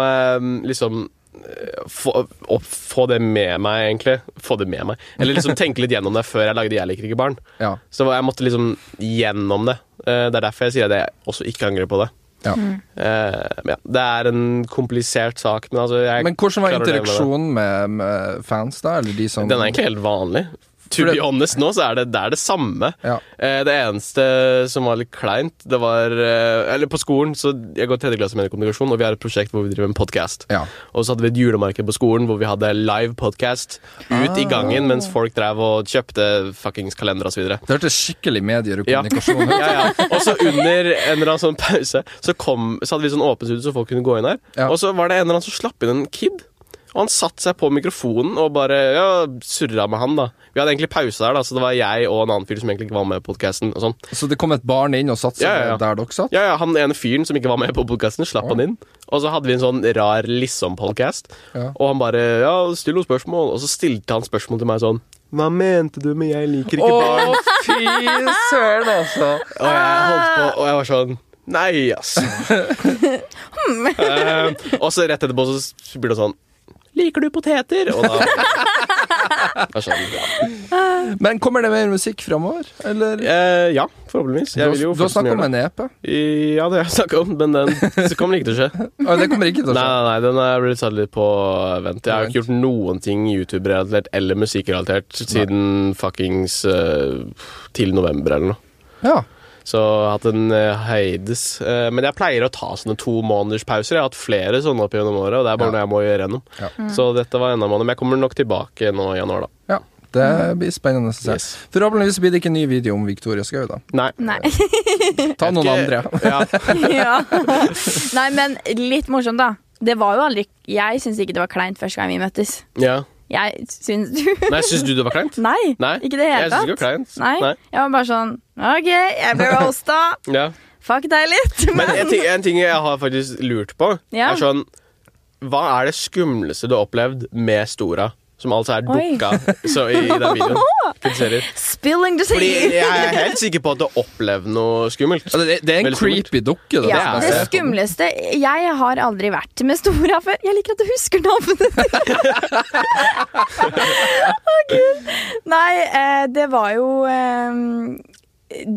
eh, liksom eh, få, å få det med meg, egentlig. Få det med meg.
[laughs]
Eller liksom tenke litt gjennom det før jeg lagde 'Jeg liker ikke barn'.
Ja.
Så jeg måtte liksom gjennom det. Eh, Det er derfor jeg sier at jeg også ikke angrer på det.
ja.
Eh, men ja, det er en komplisert sak, men altså jeg
Men hvordan var
klarer å leve med det.
interaksjonen med, med fans, da? Eller de som
Den er egentlig helt vanlig. To
For det-
be honest nå, så er det, det er det samme.
Ja.
Eh, det eneste som var litt kleint, det var eh, Eller på skolen, så jeg går tredje klasse med kommunikasjon, og vi har et prosjekt hvor vi driver en podkast.
Ja.
Og så hadde vi et julemarked på skolen hvor vi hadde live podcast ut
Ah.
i gangen mens folk drev og kjøpte fuckings kalendere og så videre.
Det hørtes skikkelig medier og
Ja.
kommunikasjon ut.
[laughs] Ja, ja. Og så under en eller annen sånn pause Så, kom, så hadde vi sånn åpent studio så folk kunne gå inn her.
Ja.
Og så var det en eller annen som slapp inn en kid. Og han satte seg på mikrofonen og bare ja, surra med han. da Vi hadde egentlig pause der, da så det var jeg og en annen fyr som egentlig ikke var med i podkasten. og sånn.
Så det kom et barn inn og satte seg
Ja, ja, ja.
ned der dere satt?
Ja, ja, Han ene fyren som ikke var med på podkasten, slapp
Ja.
han inn. Og så hadde vi en sånn rar liksom-podkast,
Ja.
og han bare ja, still noen spørsmål. Og så stilte han spørsmål til meg sånn Hva mente du med 'jeg liker ikke barn'?
fy søren, altså!
Og jeg holdt på, og jeg var sånn Nei, ass. Eh, og så rett etterpå så blir det sånn Liker du poteter? Og da Jeg skjønner, ja.
Men kommer det mer musikk framover, eller?
Eh, ja, forhåpentligvis.
Du
Jeg
har-
vil jo
du har snakket om
gjøre det.
en E EP.
Ja, det har jeg snakket om, men den så kommer det ikke til å skje.
Å, [laughs] det kommer ikke til å
Nei,
skje.
nei, nei, den er blitt satt litt på vent. Jeg har jo ikke gjort noen ting YouTube-relatert eller musikkrelatert siden fuckings eh, til november eller noe.
Ja.
Så jeg har hatt en eh, heides. Eh, men jeg pleier å ta sånne to måneders pauser. Jeg har hatt flere sånne opp gjennom året, og det er bare
Ja.
noe jeg må gjøre gjennom.
Ja.
Mm.
Så dette var enda en måned, men jeg kommer nok tilbake nå i januar, da.
ja. Det blir spennende å se.
Mm. Yes.
Forhåpentligvis blir det ikke en ny video om Victoria Skau, da.
Nei.
Nei.
Ta noen andre.
Ikke- [laughs] ja.
ja. Nei, men litt morsomt, da. Det var jo aldri Jeg syns ikke det var kleint første gang vi møttes.
ja.
Jeg syns [laughs] du
Nei, syns du det var kleint?
Nei,
Nei.
ikke det i
Jeg
hele
syns ikke det var
tatt.
kleint.
Nei. Jeg var bare sånn OK, jeg
[laughs]
ble roasta.
Ja.
Fuck deg litt.
Men en ting, en ting jeg har faktisk lurt på,
Ja.
er sånn Hva er det skumleste du har opplevd med Stora? som altså er
Oi.
dukka så i, i den videoen.
[laughs]
Kritiserer.
Spilling
Fordi
disease!
jeg
[laughs]
er helt sikker på at du opplevde noe skummelt.
Altså, det, det er en
Veldig skummelt.
creepy dukke. Det,
Ja,
er
det
det.
skumleste Jeg har aldri vært med Stora før. Jeg liker at du husker navnet ditt! Å,
[laughs]
Gud. Nei, eh, det var jo eh,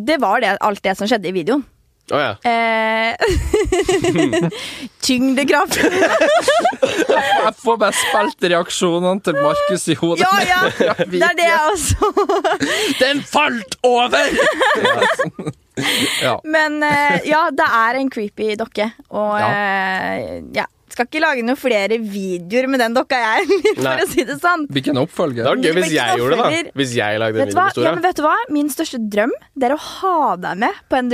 Det var det, alt det som skjedde i videoen.
Å ja.
Eh, [laughs]
[laughs]
Tyngdekraft.
[laughs] Jeg får bare spilt reaksjonene til Markus i hodet.
Ja, ja! Det er det jeg også. [laughs]
Den falt over! ja.
Men eh, ja, det er en creepy dokke. Og
Ja.
eh, ja. Skal ikke lage noen flere videoer med den dokka, jeg [laughs] heller,
Nei.
for å si det sånn.
Hvilken
Det
oppfølger?
var gøy
Men
hvis jeg gjorde det, da.
knapper-
Hvis jeg lagde en
Vet du,
video
hva?
med
Ja,
Stora.
men vet du hva? Min største drøm det er å ha deg med på en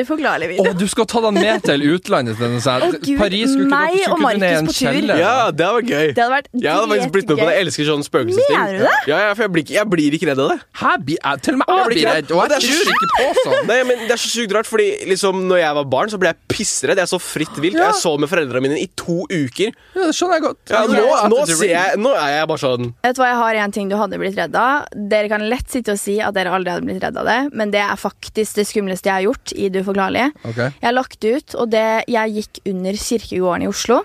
Å,
uforklarlig video.
du skal ta den med til utlandet? Den, sånn.
Å, Gud,
Paris skulle
meg
ikke,
og
skulle ikke ned i en
Markus på tur.
kjeller.
Ja, det var gøy.
Det hadde vært
Jeg hadde faktisk blitt med på det. Jeg elsker sånne spøkelsesting.
Mener du det?
Ja, ja, for jeg blir, ikke, jeg blir ikke redd
[laughs]
av det.
Her blir jeg til og med jeg
blir
blir
ikke
redd, og
det.
jeg tror ikke på sånn.
Nei, men Det er så sykt rart, fordi liksom når jeg var barn, så ble jeg pissredd. Jeg så fritt vilt.
Ja.
Jeg så med foreldrene mine i to uker.
Ja, det skjønner jeg godt.
Ja,
Jeg
nå,
tror at
nå,
det-
ser jeg, nå er jeg bare sånn
Vet du hva, Jeg har en ting du hadde blitt redd av. Dere kan lett sitte og si at dere aldri hadde blitt redd av det, men det er faktisk det skumleste jeg har gjort i Det uforklarlige.
Ok.
Jeg har lagt ut, og det, jeg gikk under kirkegården i Oslo.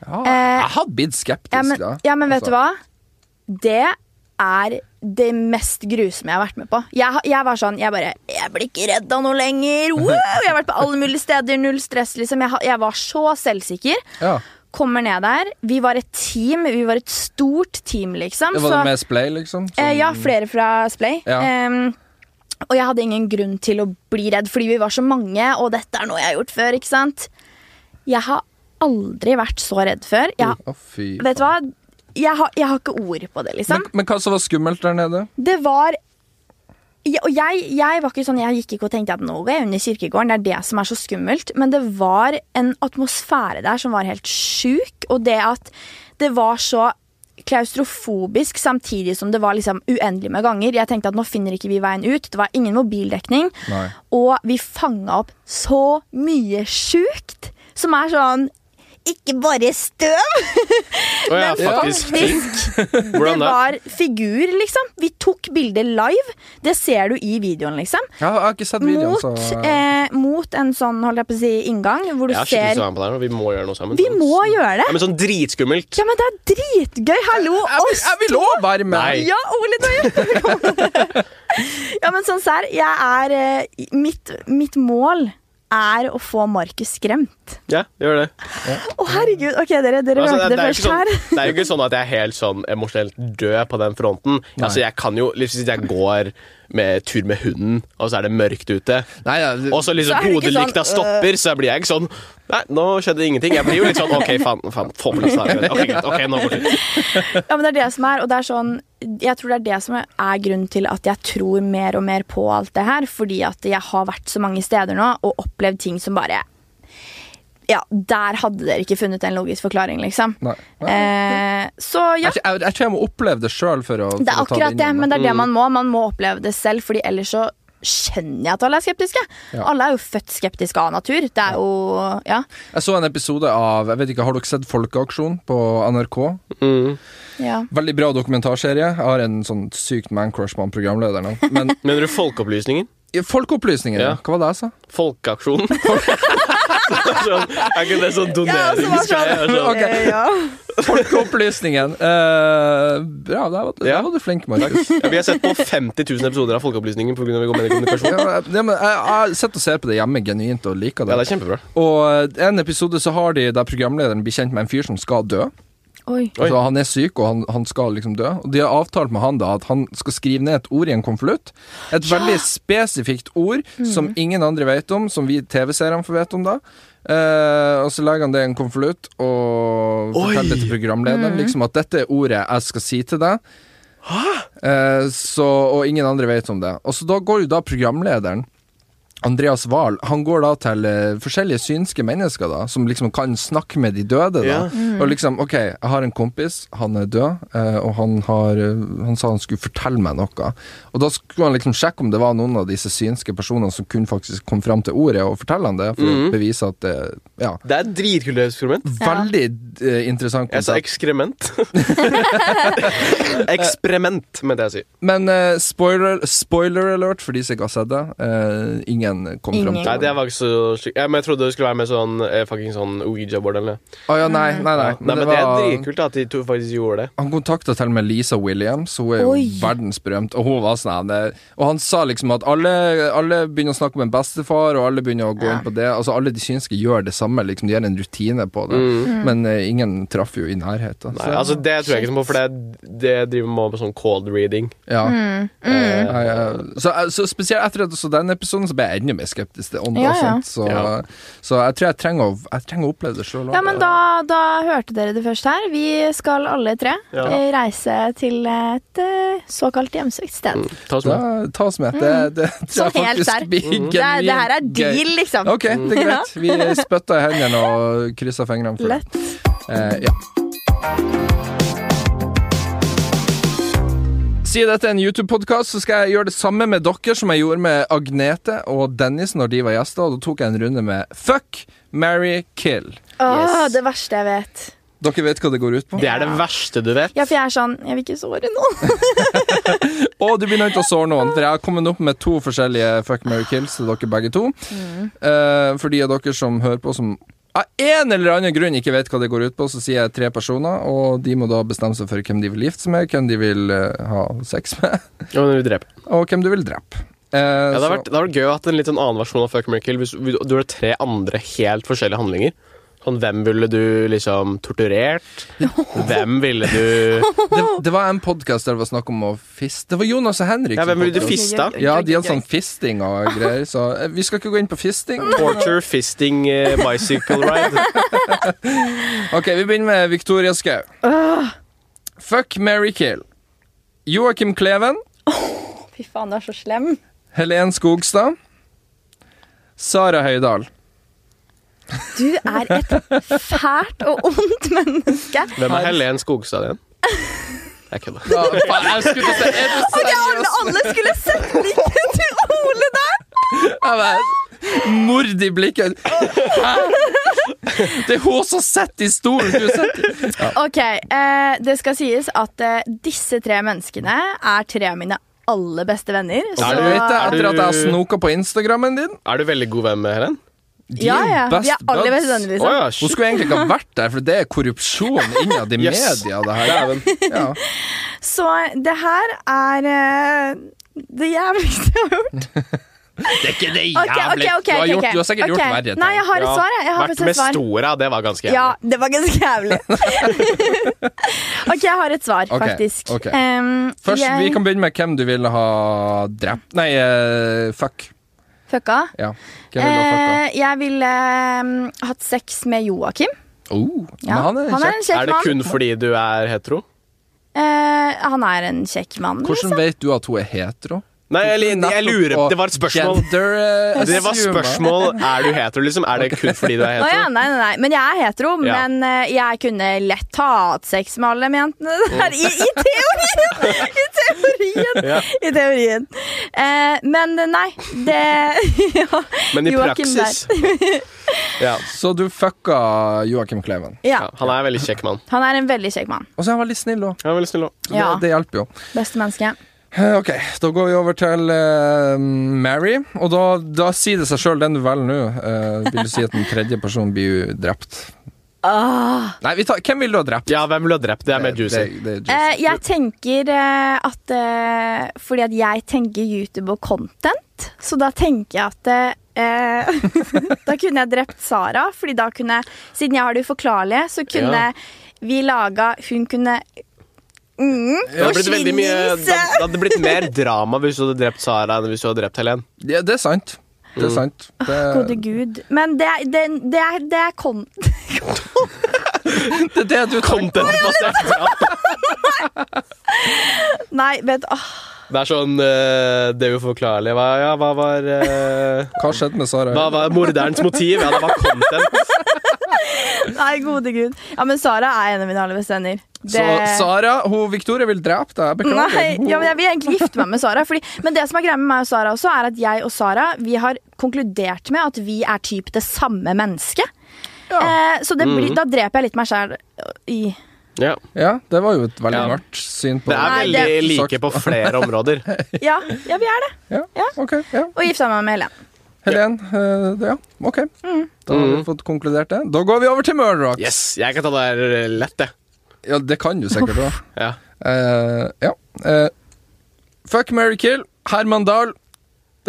Ja,
Eh,
jeg hadde blitt skeptisk,
Ja, men,
da.
ja, men
Altså,
vet du hva? Det er det mest grusomme jeg har vært med på. Jeg, har- jeg var sånn, jeg bare Jeg blir ikke redd av noe lenger! Wow! Jeg har vært på alle mulige steder, null stress, liksom. Jeg, har- jeg var så selvsikker.
Ja.
Kommer ned der. Vi var et team. Vi var et stort team, liksom.
Det var
så-
det med splay, liksom? som-
Eh, ja, flere fra Splay.
Ja.
Ehm, og jeg hadde ingen grunn til å bli redd, fordi vi var så mange, og dette er noe jeg har gjort før, ikke sant? Jeg har aldri vært så redd før. Jeg har
Å, fy.
Vet du hva? Jeg har, jeg har ikke ord på det, liksom.
Men, men hva som var skummelt der nede?
det var Ja, og jeg, jeg var ikke sånn, jeg gikk ikke og tenkte at nå går jeg under kirkegården. Det er det som er så skummelt. Men det var en atmosfære der som var helt sjuk. Og det at det var så klaustrofobisk samtidig som det var liksom uendelig med ganger. Jeg tenkte at nå finner ikke vi veien ut. Det var ingen mobildekning.
Nei.
Og vi fanga opp så mye sjukt som er sånn Ikke bare støv,
Å ja,
men
faktisk.
faktisk det
Hvordan da?
var figur, liksom. Vi tok bilder live. Det ser du i videoen, liksom.
Ja, jeg har ikke sett videoen,
Mot,
så
eh, mot en sånn holdt jeg på å si, inngang, hvor du
Jeg er skikkelig sånn.
ser
sammen på det her, og vi må gjøre noe sammen.
Vi må gjøre
Ja,
det!
men sånn dritskummelt.
Ja, men det er dritgøy! Hallo,
Jeg vil-
oss
Jeg vil òg være med!
Nei.
Ja, Ole, du har hjulpet meg. [laughs] Ja, men sånn serr, jeg er eh, mitt, mitt mål er å få Markus skremt.
Ja, gjør det.
Å, herregud. Ok, dere, dere
Altså,
hørte det,
det, er jo
først
ikke sånn,
her.
det er jo ikke sånn at jeg er helt sånn emosjonelt død på den fronten. Altså, jeg kan jo, Hvis jeg går med tur med hunden, og så er det mørkt ute,
Nei, ja, det-
og så liksom
Så er det ikke
hodelykta
sånn,
stopper, så blir jeg ikke sånn Nei, nå skjedde ingenting. Jeg blir jo litt sånn OK, faen, faen få på plass her. Ok, greit. Ok, nå går det.
Ja, men det er det som er, og det er sånn Jeg tror det er det som er grunnen til at jeg tror mer og mer på alt det her. Fordi at jeg har vært så mange steder nå og opplevd ting som bare Ja, der hadde dere ikke funnet en logisk forklaring, liksom.
Nei. Nei.
Eh, så ja.
Jeg, jeg, jeg tror jeg må oppleve det sjøl for å for
Det er
å ta det
akkurat det,
inn. i meg.
men det er det man må. Man må oppleve det selv, fordi ellers så skjønner jeg at alle er skeptiske.
Ja.
Alle er jo født skeptiske av natur. Det er jo Ja.
Jeg så en episode av jeg vet ikke, Har dere sett Folkeaksjon på NRK?
Mm.
ja.
Veldig bra dokumentarserie. Jeg har en sånn sykt man-crush på han programlederen. nå.
[laughs]
Men
Mener du Folkeopplysningen?
Folkeopplysningen, ja.
Ja.
hva var det jeg sa?
[laughs] Folkeaksjonen? sånn, er ikke det sånn
altså, Ja,
doneringsgreie? Sånn.
[laughs] Ok.
Eh, ja.
[laughs] Folkeopplysningen! Eh, bra, der var, der
Ja.
var du flink, Markus.
Ja, sånn, vi har sett på 50 000 episoder av Folkeopplysningen pga. vi går med i kommunikasjon.
Ja, ja, men jeg, jeg sitter og ser på det hjemme genuint og liker
Ja, det
det.
er kjempebra.
Og eh, en episode så har de der programlederen blir kjent med en fyr som skal dø.
Oi.
Oi.
Altså, han er syk, og han, han skal liksom dø. Og de har avtalt med han da at han skal skrive ned et ord i en konvolutt. Et veldig spesifikt ord som
Mm.
ingen andre vet om, som vi TV-seerne får vite om da. Eh, og så legger han det i en konvolutt og
Oi! Mm.
forteller det til programlederen liksom at dette er ordet jeg skal si til deg. Eh, så, og ingen andre vet om det. Og så da går jo da programlederen Andreas Wahl, han går da til eh, forskjellige synske mennesker da, som liksom kan snakke med de døde da.
Ja.
Og liksom, ok, jeg har en kompis, han er død, eh, og han, har, eh, han sa han skulle fortelle meg noe. Og da skulle han liksom sjekke om det var noen av disse synske personene som kunne faktisk komme fram til ordet og fortelle han det, for å
Mm.
bevise at det, ja.
Det er et dritkult eksperiment.
Veldig eh, interessant
Jeg sa
konsept.
ekskrement. [laughs] Eksperiment, mente jeg å si.
Men eh, spoiler, spoiler alert for de som ikke har sett det. eh, ingen kom
Ingen.
fram til
Nei, det var ikke så slik. Ja, men jeg trodde det skulle være med sånn eh, fucking sånn Ouija-board eller noe.
Å ja, nei, nei, nei.
Nei, men det, er dritkult da, at de to faktisk gjorde det.
Han kontakta til og med Lisa Williams, hun er jo
Oi.
verdensberømt, og hun var sånn her, det- Og han sa liksom at alle, alle begynner å snakke om en bestefar, og alle begynner å gå inn på det. Altså Alle de synske gjør det samme, liksom, de har en rutine på det.
Mm.
Men eh, ingen traff jo i nærheten.
Mm. Nei, altså Det tror jeg ikke noe på, for det, det driver man med sånn cold reading.
Ja.
Mm.
Eh,
Nei, eh, Så, så spesielt etter at jeg så den episoden, så ble jeg enda mer skeptisk til ånder.
Ja,
og
ja.
sånt, Så,
Ja.
så jeg tror jeg trenger å, jeg trenger å oppleve det sjøl.
Ja, men da, da hørte dere det først her. Vi skal alle tre
Ja.
eh, reise til et eh, såkalt hjemsøkt sted.
ta oss
da
med.
eh, ta oss med. Det, det tror
Sånn
jeg
helt
Mm. faktisk
der.
blir
Mm.
Det, er- det her er
genuint
deal,
gøy.
liksom.
Ok, det er greit. Vi spytta i hendene og kryssa fingrene for det.
Lett.
Eh, ja. Siden dette er en YouTube-podkast, så skal jeg gjøre det samme med dere som jeg gjorde med Agnete og Dennis når de var gjester, og da tok jeg en runde med Fuck, marry, kill.
Åh,
Yes.
det verste jeg vet.
Dere vet hva det går ut på?
Det er det verste du vet.
Ja, for jeg er sånn Jeg vil ikke såre
[laughs]
noen.
Og du begynner ikke å såre noen, for jeg har kommet opp med to forskjellige fuck, marry, kills til dere begge to. Eh, for de av dere som hører på som av en eller annen grunn ikke vet hva det går ut på, så sier jeg tre personer, og de må da bestemme seg for hvem de vil gifte seg med, hvem de vil eh, ha sex med, [laughs]
Ja, men vi dreper.
og hvem du vil drepe. Eh,
Ja, det
så-
hadde vært, det hadde vært gøy å ha hatt en litt sånn annen versjon av Fuck Miracle hvis vi- du gjorde tre andre helt forskjellige handlinger. Sånn, Hvem ville du liksom torturert? Hvem ville du
det, det var en podkast der det var snakk om å fiste Det var Jonas og Henrik.
Ja,
sin
hvem ville du
podcast.
fiste av?
Ja, de hadde sånn fisting og greier,
[laughs]
så eh, vi skal ikke gå inn på fisting.
Torture, fisting, eh,
[laughs]
bicycle ride.
Ok, vi begynner med Victoria Skau. Fuck Mary Kill. Joakim Kleven.
Fy faen, du er så slem.
Helen Skogstad. Sara Høydahl.
Du er et fælt og ondt menneske.
Hvem er Helen Skogstad igjen? Jeg kødder.
Ja, faen, jeg skulle til å si, er du
Og det
seriøs?
alle, alle skulle sette liket til Ole der!
Jeg bare- Mord i blikket. Hæ? Det er hun som sitter i stolen! Du sitter
Ok, eh, det skal sies at eh, disse tre menneskene er tre av mine aller beste venner.
Så
Er
du
du-
vet det,
er
etter at jeg
du-
snoka på Instagrammen din.
Er du veldig god venn med Helen?
De
ja,
er jo
ja,
best
vi er aller
buds.
best venner,
Å
liksom.
ja,
Hun
shit.
skulle egentlig ikke ha vært der, for det er korrupsjon innad i
Yes.
media. Det her. Ja.
Så eh, det her er eh, det jævligste jeg har gjort.
Det er ikke det
Ok, ok, ok,
Du har
ok,
gjort-
ok.
du har sikkert gjort
Ok.
verre ting.
Nei, jeg har et
Ja,
svar. jeg. Jeg har
Vært
faktisk
med
et svar.
Stora, det var ganske
Ja,
jævlig.
det var ganske
[laughs]
jævlig. ok, jeg har et svar,
Ok,
faktisk.
ok.
Em,
Først,
jeg
Vi kan begynne med hvem du ville ha drept Nei, eh, fuck.
Fucka.
Ja. Hvem ville ha fucka?
Eh, jeg ville em, hatt sex med Joakim.
Oh,
Ja,
men han er kjekk.
en kjekk
Er det
mann.
kun fordi du er hetero?
Eh, han er en kjekk mann.
Hvordan vet du at hun er hetero?
Nei, jeg, jeg lurer Det var et spørsmål.
Gender, eh,
Det var
assume.
spørsmål. Er du hetero, liksom? Er det kun fordi du er
Å ja,
hetero?
nei, nei, nei. Men jeg er hetero,
Ja.
men eh, jeg kunne lett ha hatt sex med alle de jentene [laughs] der. I, i teorien! I teorien!
Ja.
I teorien. Eh, men eh, nei, det [laughs] ja,
Men i
Joakim der. [laughs]
praksis ja.
Så du fucka Joakim Kleven.
Ja,
ja. Han er en veldig kjekk mann.
han er en veldig kjekk mann.
Og så er han veldig snill òg.
Han er veldig snill også.
Det,
Ja.
det hjelper jo.
Beste menneske.
Eh, Ok, da går vi over til eh, Mary. Og da, da sier det seg sjøl, den du velger nå, eh, vil du si at den tredje personen blir jo drept.
Åh.
Nei, vi tar, hvem vil du ha drept?
Ja, hvem ville ha drept? Det er mer juicy.
Det, det, det er
Eh,
juicy.
jeg tenker eh, at eh, Fordi at jeg tenker YouTube og content, så da tenker jeg at eh, [laughs] Da kunne jeg drept Sara, Fordi da kunne Siden jeg har det uforklarlige, så kunne
Ja.
vi laga Hun kunne mm,
Det hadde blitt veldig mye
forsvinnes.
Det hadde- det hadde blitt mer drama hvis du hadde drept Sara enn hvis du hadde drept Helen.
Ja, det er sant. Det
Mm.
er sant.
[laughs] Gode
Det,
gud. Men det, er- det, det, er, det er kon...
det, det er du
Content-basert drap.
[laughs] Nei, vet åh,
Det er sånn eh, Det er uforklarlige. Hva, ja, hva var eh,
Hva skjedde med Sara?
Hva var morderens motiv? Ja, det var content.
Nei, gode gud. Ja, men Sara er en av mine aller beste venner.
Så Sara, hun Victoria vil drepe deg. Beklager.
Nei, ja, men jeg vil egentlig gifte meg med Sara. Fordi, men det som er greia med meg og Sara også, er at jeg og Sara vi har konkludert med at vi er typ det samme mennesket. Eh, så det
Mhm.
blir, da dreper jeg litt meg sjæl i
Ja.
Ja, det var jo et veldig
Ja.
mørkt syn på
Det er
Nei,
veldig
det-
Sagt.
like på flere områder.
Ja, ja vi er det.
Ja,
Ja.
ok. Ja.
Og gifta meg med Helen.
Helen. eh, det- Ja, ok. Da har vi fått konkludert det. Da går vi over til Murder Rock.
Mm. Yes, jeg kan ta det her eh, lett, jeg.
Ja, det kan du sikkert òg.
Ja.
ja. Eh, fuck Mary Kill, Herman Dahl,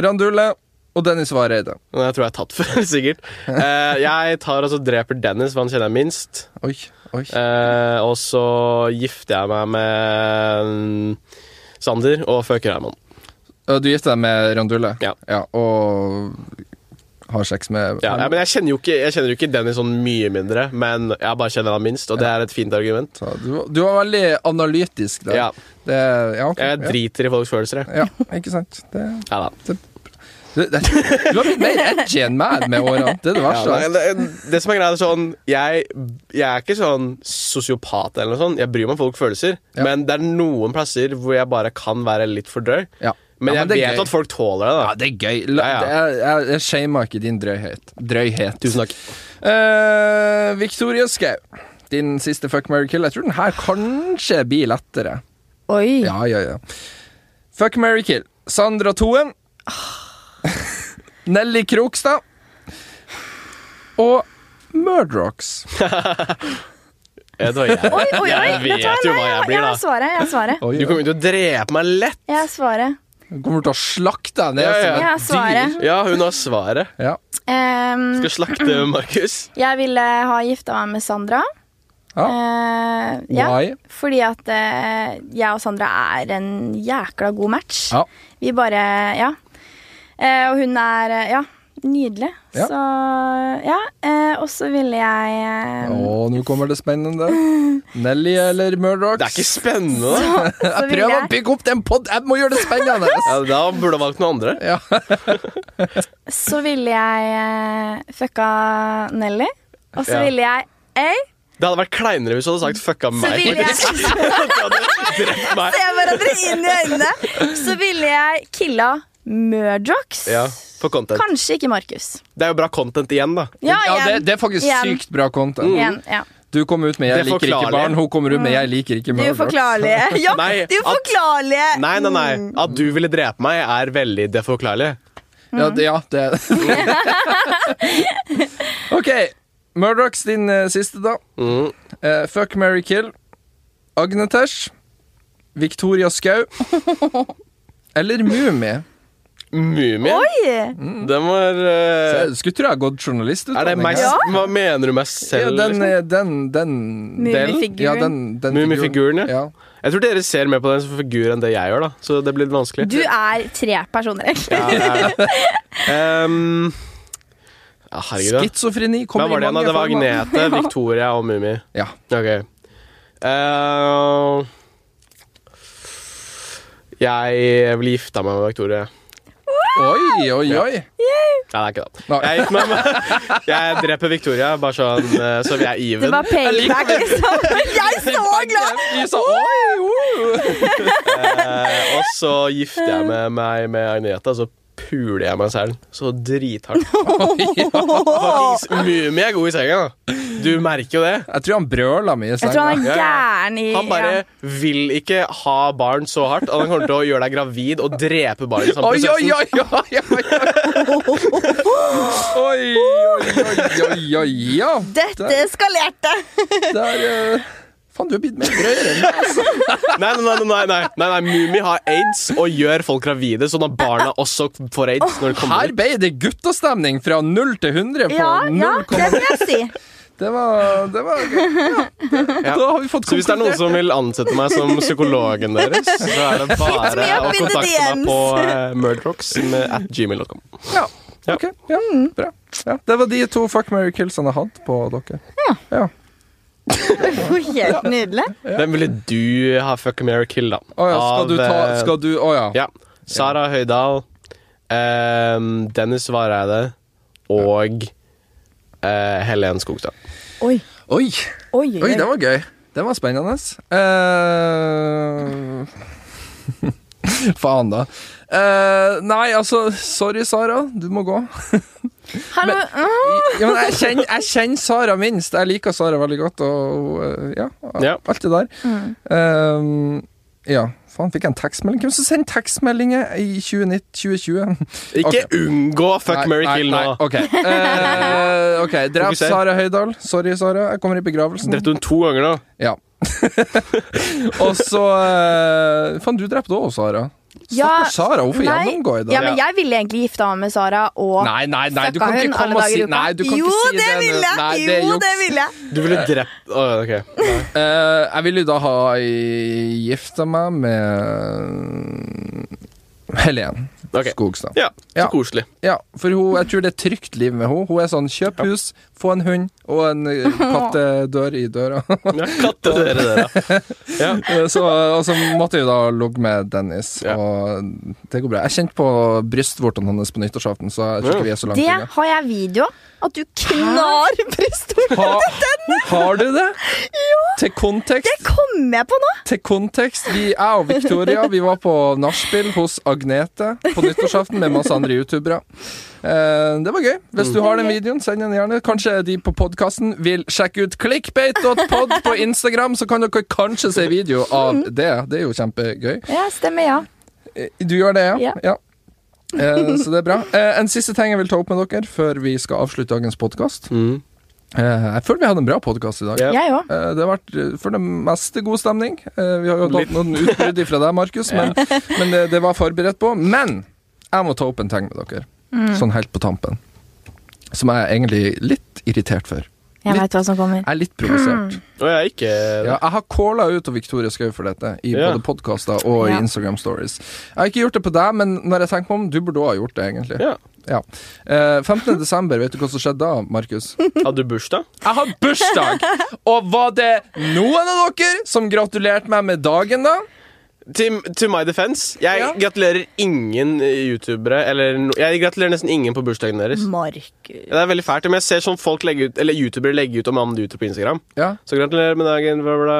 Randulle og Dennis Vareide.
Men jeg tror jeg har tatt før, [laughs] sikkert. Eh, jeg tar og så dreper Dennis, for han kjenner jeg minst.
Oi, oi.
Eh, og så gifter jeg meg med mm, Sander og fucker Herman.
Eh, Du gifter deg med Randulle?
Ja.
Og har sex med
Ja, ja,
Herman.
men jeg kjenner jo ikke, jeg kjenner jo ikke Dennis sånn mye mindre, men jeg bare kjenner han minst, og det er et fint argument.
Så du, var- du var veldig analytisk der.
Ja.
Det, ja, ok.
Jeg driter i folks følelser, jeg.
ja. ja, ikke sant. Det,
Ja da.
det, det, du har blitt
[laughs]
mer edgy enn meg med årene. Det er det
Ja,
verste.
nei, det, det som er greia, er sånn jeg, jeg er ikke sånn sosiopat eller noe sånt. Jeg bryr meg om folks følelser,
Ja.
men det er noen plasser hvor jeg bare kan være litt for drøy.
Ja.
Men
Ja,
jeg
det er
vet
gøy.
at folk tåler det, da.
Ja, det er gøy. La,
Ja, ja.
det er- Jeg, jeg shamer ikke din drøyhet. drøyhet.
Tusen takk.
Eh, Victoria Skau, din siste fuck, marry, kill. Jeg tror den her kanskje blir lettere.
Oi.
Ja, ja, ja. Fuck, marry, kill. Sandra Toen. Nelly Krokstad. Og Murdrocks.
Jeg, vet hva
Oi,
jeg,
oi, oi.
jeg
Vet du hva?
vet jo
Nei,
hva jeg blir,
Jeg
da.
svarer. Jeg
[laughs]
svarer.
Oi,
Du kommer til å drepe meg lett.
Jeg svarer.
Hun kommer til å slakte deg ned
Ja, ja.
Jeg
som et dyr.
svarer.
Ja, hun har svaret.
Ja.
Ehm,
Skal slakte
[clears throat]
Markus.
jeg ville ha gifta meg med Sandra.
Ja.
Eh, ja.
Why?
Fordi at eh, jeg og Sandra er en jækla god match.
Ja.
Vi bare Ja. Eh, og hun er eh, Ja, nydelig.
Ja.
Så Ja. Eh, og så ville jeg eh,
Å, nå kommer det
[laughs]
spennende. Nelly eller Murdrocks?
Det er ikke
[clears throat]
spennende, da.
så
[laughs] Jeg
ville
prøver å
jeg,
bygge opp den pod... Jeg må gjøre det spennende!
[laughs] Ja, da burde du ha valgt noen andre.
Ja.
så ville jeg eh, fucka Nelly. Og så
Ja.
ville jeg Ei,
Det hadde vært kleinere hvis du hadde sagt 'fucka
så
meg'. [laughs]
ville jeg [laughs]
faktisk.
se
Du hadde drept meg.
hverandre inn i øynene. Så ville jeg killa Murdrocks.
Ja, for content.
Kanskje ikke Markus.
Det er jo bra content igjen, da.
Ja,
det,
igjen.
det er faktisk
Igjen. Mm.
sykt bra content.
Igjen, ja.
Du kom ut med 'jeg
Det er
liker ikke
forklarlig.
barn', hun kommer ut med
Mm.
'jeg liker ikke
Det
Murdrocks'.
uforklarlige. Ja,
Nei,
det
at-
uforklarlige.
Nei, nei, nei. At du ville drepe meg, er veldig deforklarlig.
Ja,
Mm.
det, ja,
[laughs]
det. OK. Murdrocks din eh, siste, da.
Mm.
Eh, fuck Mary Kill. Agnetesh. Victoria
[laughs]
Skau. Eller
Eh,
Mummi.
Mumien?
Oi!
Den var eh,
Jeg Skulle tro jeg har gått
Er det
journalistutdanning.
meg
jeg.
Ja.
Hva mener du
Ja,
meg selv?
den,
liksom?
eh, den, den
Mummifiguren.
Ja, den, den
Mummifiguren, ja.
ja.
Jeg tror dere ser mer på den som figur enn det jeg gjør, da. Så det blir litt vanskelig.
Du er tre personer, egentlig.
Ja, det er det. Um, ja, herregud, da.
Schizofreni
Hva
kommer
var det
i
igjen? da?
mange
Det var
former.
[laughs]
Agnete, Victoria og Mummi.
Ja.
Ok. Eh, jeg vil gifte meg med Victoria.
Oi, oi, oi.
Nei, det er ikke det.
Nei.
Jeg, gifter meg med, [laughs] jeg dreper Victoria, bare sånn eh, så vi er
Det
even.
var payback, liksom. [laughs] Jeg er så glad!
Jeg sa, oi, oi.
Eh, og så gifter jeg meg med, med Agnete, og så puler jeg meg selv. Så
[laughs]
[laughs]
drithardt. Fuckings Mumie er god i senga, da. Du merker jo det.
Jeg tror han brøla mye i
Jeg tror han
senga.
er gæren i
Han bare
ja.
vil ikke ha barn så hardt. og Han kommer til å gjøre deg gravid og drepe barnet. i samme
Oi, oi,
prosessen.
oi, oi, oi, oi. Oi, oi, oi, oi, ja.
Dette eskalerte!
Der, eh, faen, du er blitt mer drøyere enn meg. altså.
Nei, nei, nei, nei, nei, nei, nei Mumi har aids og gjør folk gravide, sånn at barna også får aids. Når de kommer
Her
ut.
ble det guttastemning fra 0 til 100 på
Ja, ja,
0,
det vil jeg si.
det var, det var gøy.
Ja.
Da har vi fått
Så hvis det er noen som vil ansette meg som psykologen deres, så er det bare
me up
å
in the
kontakte meg
DMs.
på eh, murdrocks med at gmail.com.
Ja, mm. ok. Ja, bra. Ja, det var de to fuck, marry, kills han har hatt på dere. Ja.
Helt nydelig.
Hvem ville du ha fuck Mary kill, da?
Å ja, skal
Av,
du ta
eh,
Skal du Å ja.
Ja. Sara Høydahl, ehm, Dennis Vareide og eh, Helen Skogstad.
Oi,
Oi! Oi,
oi, oi.
den var gøy. Den var spennende. Eh, [laughs] Faen, da. Eh, nei, altså Sorry, Sara. Du må gå.
Hallo. mm.
Ja, men jeg, kjenner, jeg kjenner Sara minst. Jeg liker Sara veldig godt, og øh, ja,
Ja.
alt det der. Ehm, ja, faen, fikk jeg en tekstmelding? Hvem som sender tekstmeldinger i 2019, 2020?
Ikke unngå fuck
Nei,
Mary
nei,
kill
nei,
nå!
Ok, Eh, [laughs] ok, drep
Fokuser.
Sara Høydahl. Sorry, Sara. Jeg kommer i begravelsen.
Drepte hun to ganger nå?
Ja. [laughs] og så eh, Faen, du drepte òg, Sara.
Ja,
Stakkars Sara, hun får
nei,
gjennomgå i dag.
Ja, men jeg ville egentlig gifta meg med Sara og
Nei, nei, nei, du
fucka
kan
hun
ikke komme
alle
og
dager i
si
uka.
Nei, du kan
jo,
ikke si
det
nå.
ville jeg!
Nei, det er
jo,
juks.
det ville jeg!
Du ville drept Å, ok.
Eh, jeg ville jo da ha gifta meg med Helen
Ok.
Skogstad.
Ja, så
Ja.
koselig.
Ja, for hun, jeg tror det er et trygt liv med henne. Hun er sånn kjøp hus, få en hund og en eh, kattedør i døra. [laughs]
Ja, katte dere, dere. Ja.
Eh, Så, og så måtte jeg jo da ligge med Dennis,
Ja.
og det går bra. Jeg kjente på brystvortene hans på nyttårsaften, så jeg tror ikke vi er så langt
Det [laughs]
unna.
har jeg video av. At du knar brystvorten.
Ha, har du det? Til kontekst?
Det kommer jeg på nå!
Til kontekst, vi, jeg og Victoria Vi var på nachspiel hos Agnete på nyttårsaften med masse andre youtubere. Eh, det var gøy. Hvis du har den videoen, send den gjerne. Kanskje de på podkasten vil sjekke ut clickbait.pod på Instagram, så kan dere kanskje se video av det. Det er jo kjempegøy.
Ja, stemmer, ja.
Eh, Du gjør det, ja?
Ja.
ja. Eh, så det er bra. Eh, en siste ting jeg vil ta opp med dere før vi skal avslutte dagens podkast.
Mm.
jeg føler vi hadde en bra podkast i dag.
Ja.
Jeg òg.
Eh, Det har vært eh, for det meste god stemning. Eh, Vi har jo
Litt.
hatt noen utbrudd fra deg, Markus,
[laughs]
men, men det, det var forberedt på. Men jeg må ta opp en ting med dere,
Mm.
sånn helt på tampen, som jeg er egentlig litt irritert for.
Jeg veit hva som kommer.
Jeg er litt provosert.
Og jeg Mm. er ikke
Ja, jeg har calla ut av Victoria Skau for dette, i
Ja.
både podkaster og i
Ja.
Instagram Stories. Jeg har ikke gjort det på deg, men når jeg tenker meg om, du burde òg ha gjort det, egentlig.
Ja.
Ja. Eh, 15. desember, vet du hva som skjedde da, Markus?
Hadde du bursdag?
Jeg har bursdag! Og var det noen av dere som gratulerte meg med dagen, da?
Til, til my defense, jeg
Ja.
gratulerer ingen youtubere eller no, Jeg gratulerer nesten ingen på bursdagen
Mm.
deres.
Markus.
Det er veldig fælt, men jeg ser sånn folk legge ut, eller youtubere legge ut om andre youtubere på Instagram.
Ja.
Så gratulerer med dagen. Bla, bla, bla.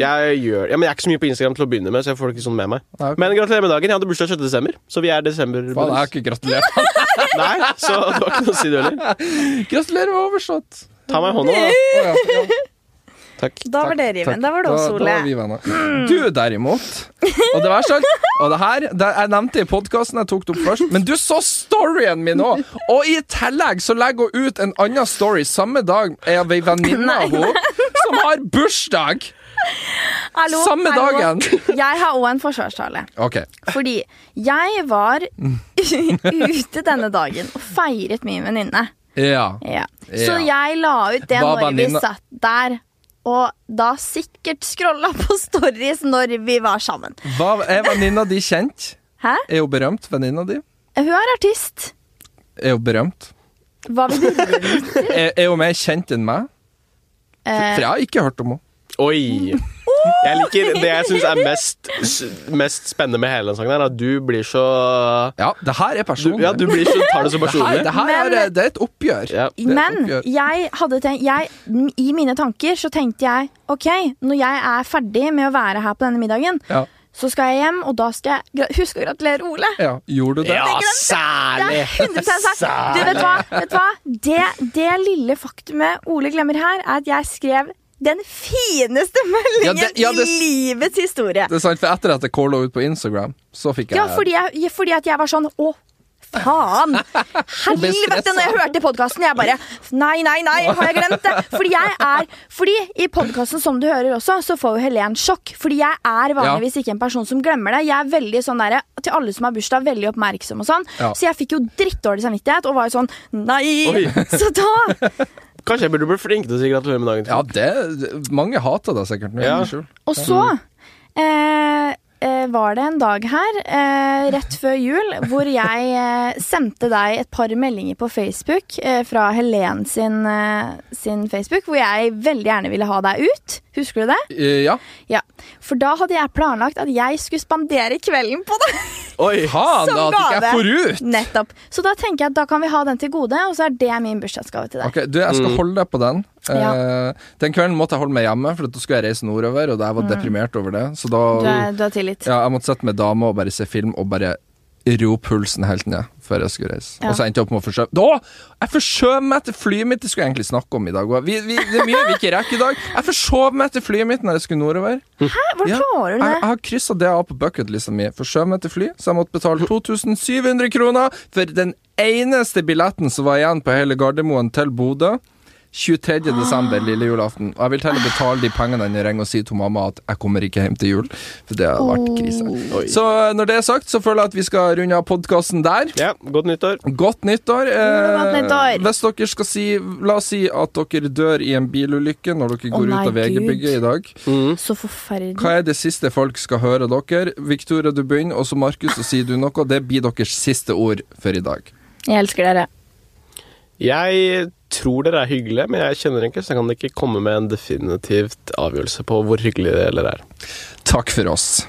Jeg gjør, ja, men jeg er ikke så mye på Instagram til å begynne med, så jeg får det ikke sånn med meg.
Nei, ok.
Men gratulerer med dagen. Jeg hadde bursdag 6. desember, så vi er desember.
Faen, jeg har ikke [laughs] gratulert.
Nei, så det var ikke noe å si, du heller.
Gratulerer med overstått.
Ta meg i hånda, da.
Å, ja. Ja,
Takk.
Da var det
takk.
riven. Da var det
Da-
oss,
Da
Ole.
var vi venner. Du, derimot Og det verste av alt Og det her det Jeg nevnte i podkasten, jeg tok det opp først, men du så storyen min òg! Og i tillegg så legger hun ut en annen story samme dag er vi venninne av henne som har bursdag!
Hallo,
Samme
hallo.
dagen.
[laughs] Jeg har òg en forsvarstale.
OK.
Fordi
[laughs]
jeg var ute denne dagen og feiret min venninne.
Ja.
Ja. Så
Ja.
jeg la ut det
Hva
når vi
venninna-
satt der, og da sikkert scrolla på stories når vi var sammen.
Hva, er venninna di kjent?
Hæ?
Er hun berømt, venninna di?
Hun er artist.
Er hun berømt?
Hva vil
[laughs]
du
Er, er hun mer kjent enn meg? For
eh,
jeg har ikke hørt om henne.
Oi. Jeg liker Det jeg syns er mest, mest spennende med hele den sangen, her, at du blir så
Ja, det her er
du,
personlig.
Ja, du blir så, tar det så
det her,
personlig.
det, her
Men-
er, det er et oppgjør.
Ja.
er et
Men
oppgjør.
jeg hadde tenkt jeg, I mine tanker så tenkte jeg OK, når jeg er ferdig med å være her på denne middagen,
Ja.
så skal jeg hjem, og da skal jeg gra- huske å gratulere Ole.
Ja, gjorde du det?
Ja,
Det
særlig!
[laughs]
er 100 sagt. Du, vet du hva? Vet du hva? Det, det lille faktumet Ole glemmer her, er at jeg skrev den fineste meldingen
Ja, det- ja, det-
i livets historie.
Det er sant, for etter at jeg calla ut på Instagram, så fikk jeg
Ja, fordi, jeg, fordi at jeg var sånn Å, faen! Helvete, når jeg hørte podkasten, jeg bare Nei, nei, nei, har jeg glemt det? Fordi jeg er Fordi i podkasten, som du hører også, så får jo Helen sjokk. Fordi jeg er vanligvis ikke en person som glemmer det. Jeg er veldig sånn derre til alle som har bursdag, veldig oppmerksom og sånn.
Ja.
Så jeg fikk jo drittdårlig samvittighet og var jo sånn
Oi.
Nei! Så da
Kanskje jeg burde bli flink til å si gratulerer med dagen.
Ja, det Mange hater deg sikkert nå.
Ja.
unnskyld.
Og så eh, eh, var det en dag her, eh,
[laughs]
rett før jul, hvor jeg eh, sendte deg et par meldinger på Facebook eh, fra Helen sin, eh, sin Facebook, hvor jeg veldig gjerne ville ha deg ut. Husker du det?
Eh, ja.
Ja. For da hadde jeg planlagt at jeg skulle spandere kvelden på deg.
Oi!
Faen, Ah, da
[laughs]
at
Som
ikke jeg
gave.
får ut!
Nettopp. Så da tenker jeg at da kan vi ha den til gode, og så er det min bursdagsgave til deg.
Ok, du, Jeg
Mm.
skal holde deg på den.
Ja. Mm.
Eh, den kvelden måtte jeg holde meg hjemme, for at da skulle jeg reise nordover. Og da jeg var deprimert over det Så da
Du, er, du har tillit.
ja, Jeg måtte sette med dame og bare se film og bare ro pulsen helt ned før jeg skulle reise.
Ja.
Og så endte jeg opp med å forskjøve Da! Jeg forskjøv meg til flyet mitt! Det skulle jeg egentlig snakke om i dag også. Vi, vi, det er mye vi ikke rekker i dag. Jeg forskjøv meg til flyet mitt når jeg skulle nordover.
Hæ, Hvor
Ja,
klarer du
Jeg, jeg
det?
har kryssa det av på bucketlista mi. Forskjøv meg til fly, så jeg måtte betale 2700 kroner for den eneste billetten som var igjen på hele Gardermoen til Bodø. 23. desember, lille julaften. Og jeg vil heller betale de pengene enn å ringe og si til mamma at jeg kommer ikke hjem til jul. For det har vært krise.
Oi.
Så eh, når det er sagt, så føler jeg at vi skal runde av podkasten der.
Ja, godt nyttår.
Godt nyttår. Eh,
Godt nyttår.
Hvis dere skal si La oss si at dere dør i en bilulykke når dere
Å
går
nei,
ut av VG-bygget
Gud.
i dag.
Så forferdelig.
Hva er det siste folk skal høre dere? Victoria, du begynner, og så Markus, så sier du noe. Det blir deres siste ord for i dag.
Jeg elsker dere.
Jeg tror dere er hyggelige, men jeg kjenner dere ikke, så jeg kan ikke komme med en definitivt avgjørelse på hvor hyggelige dere er.
Takk for oss.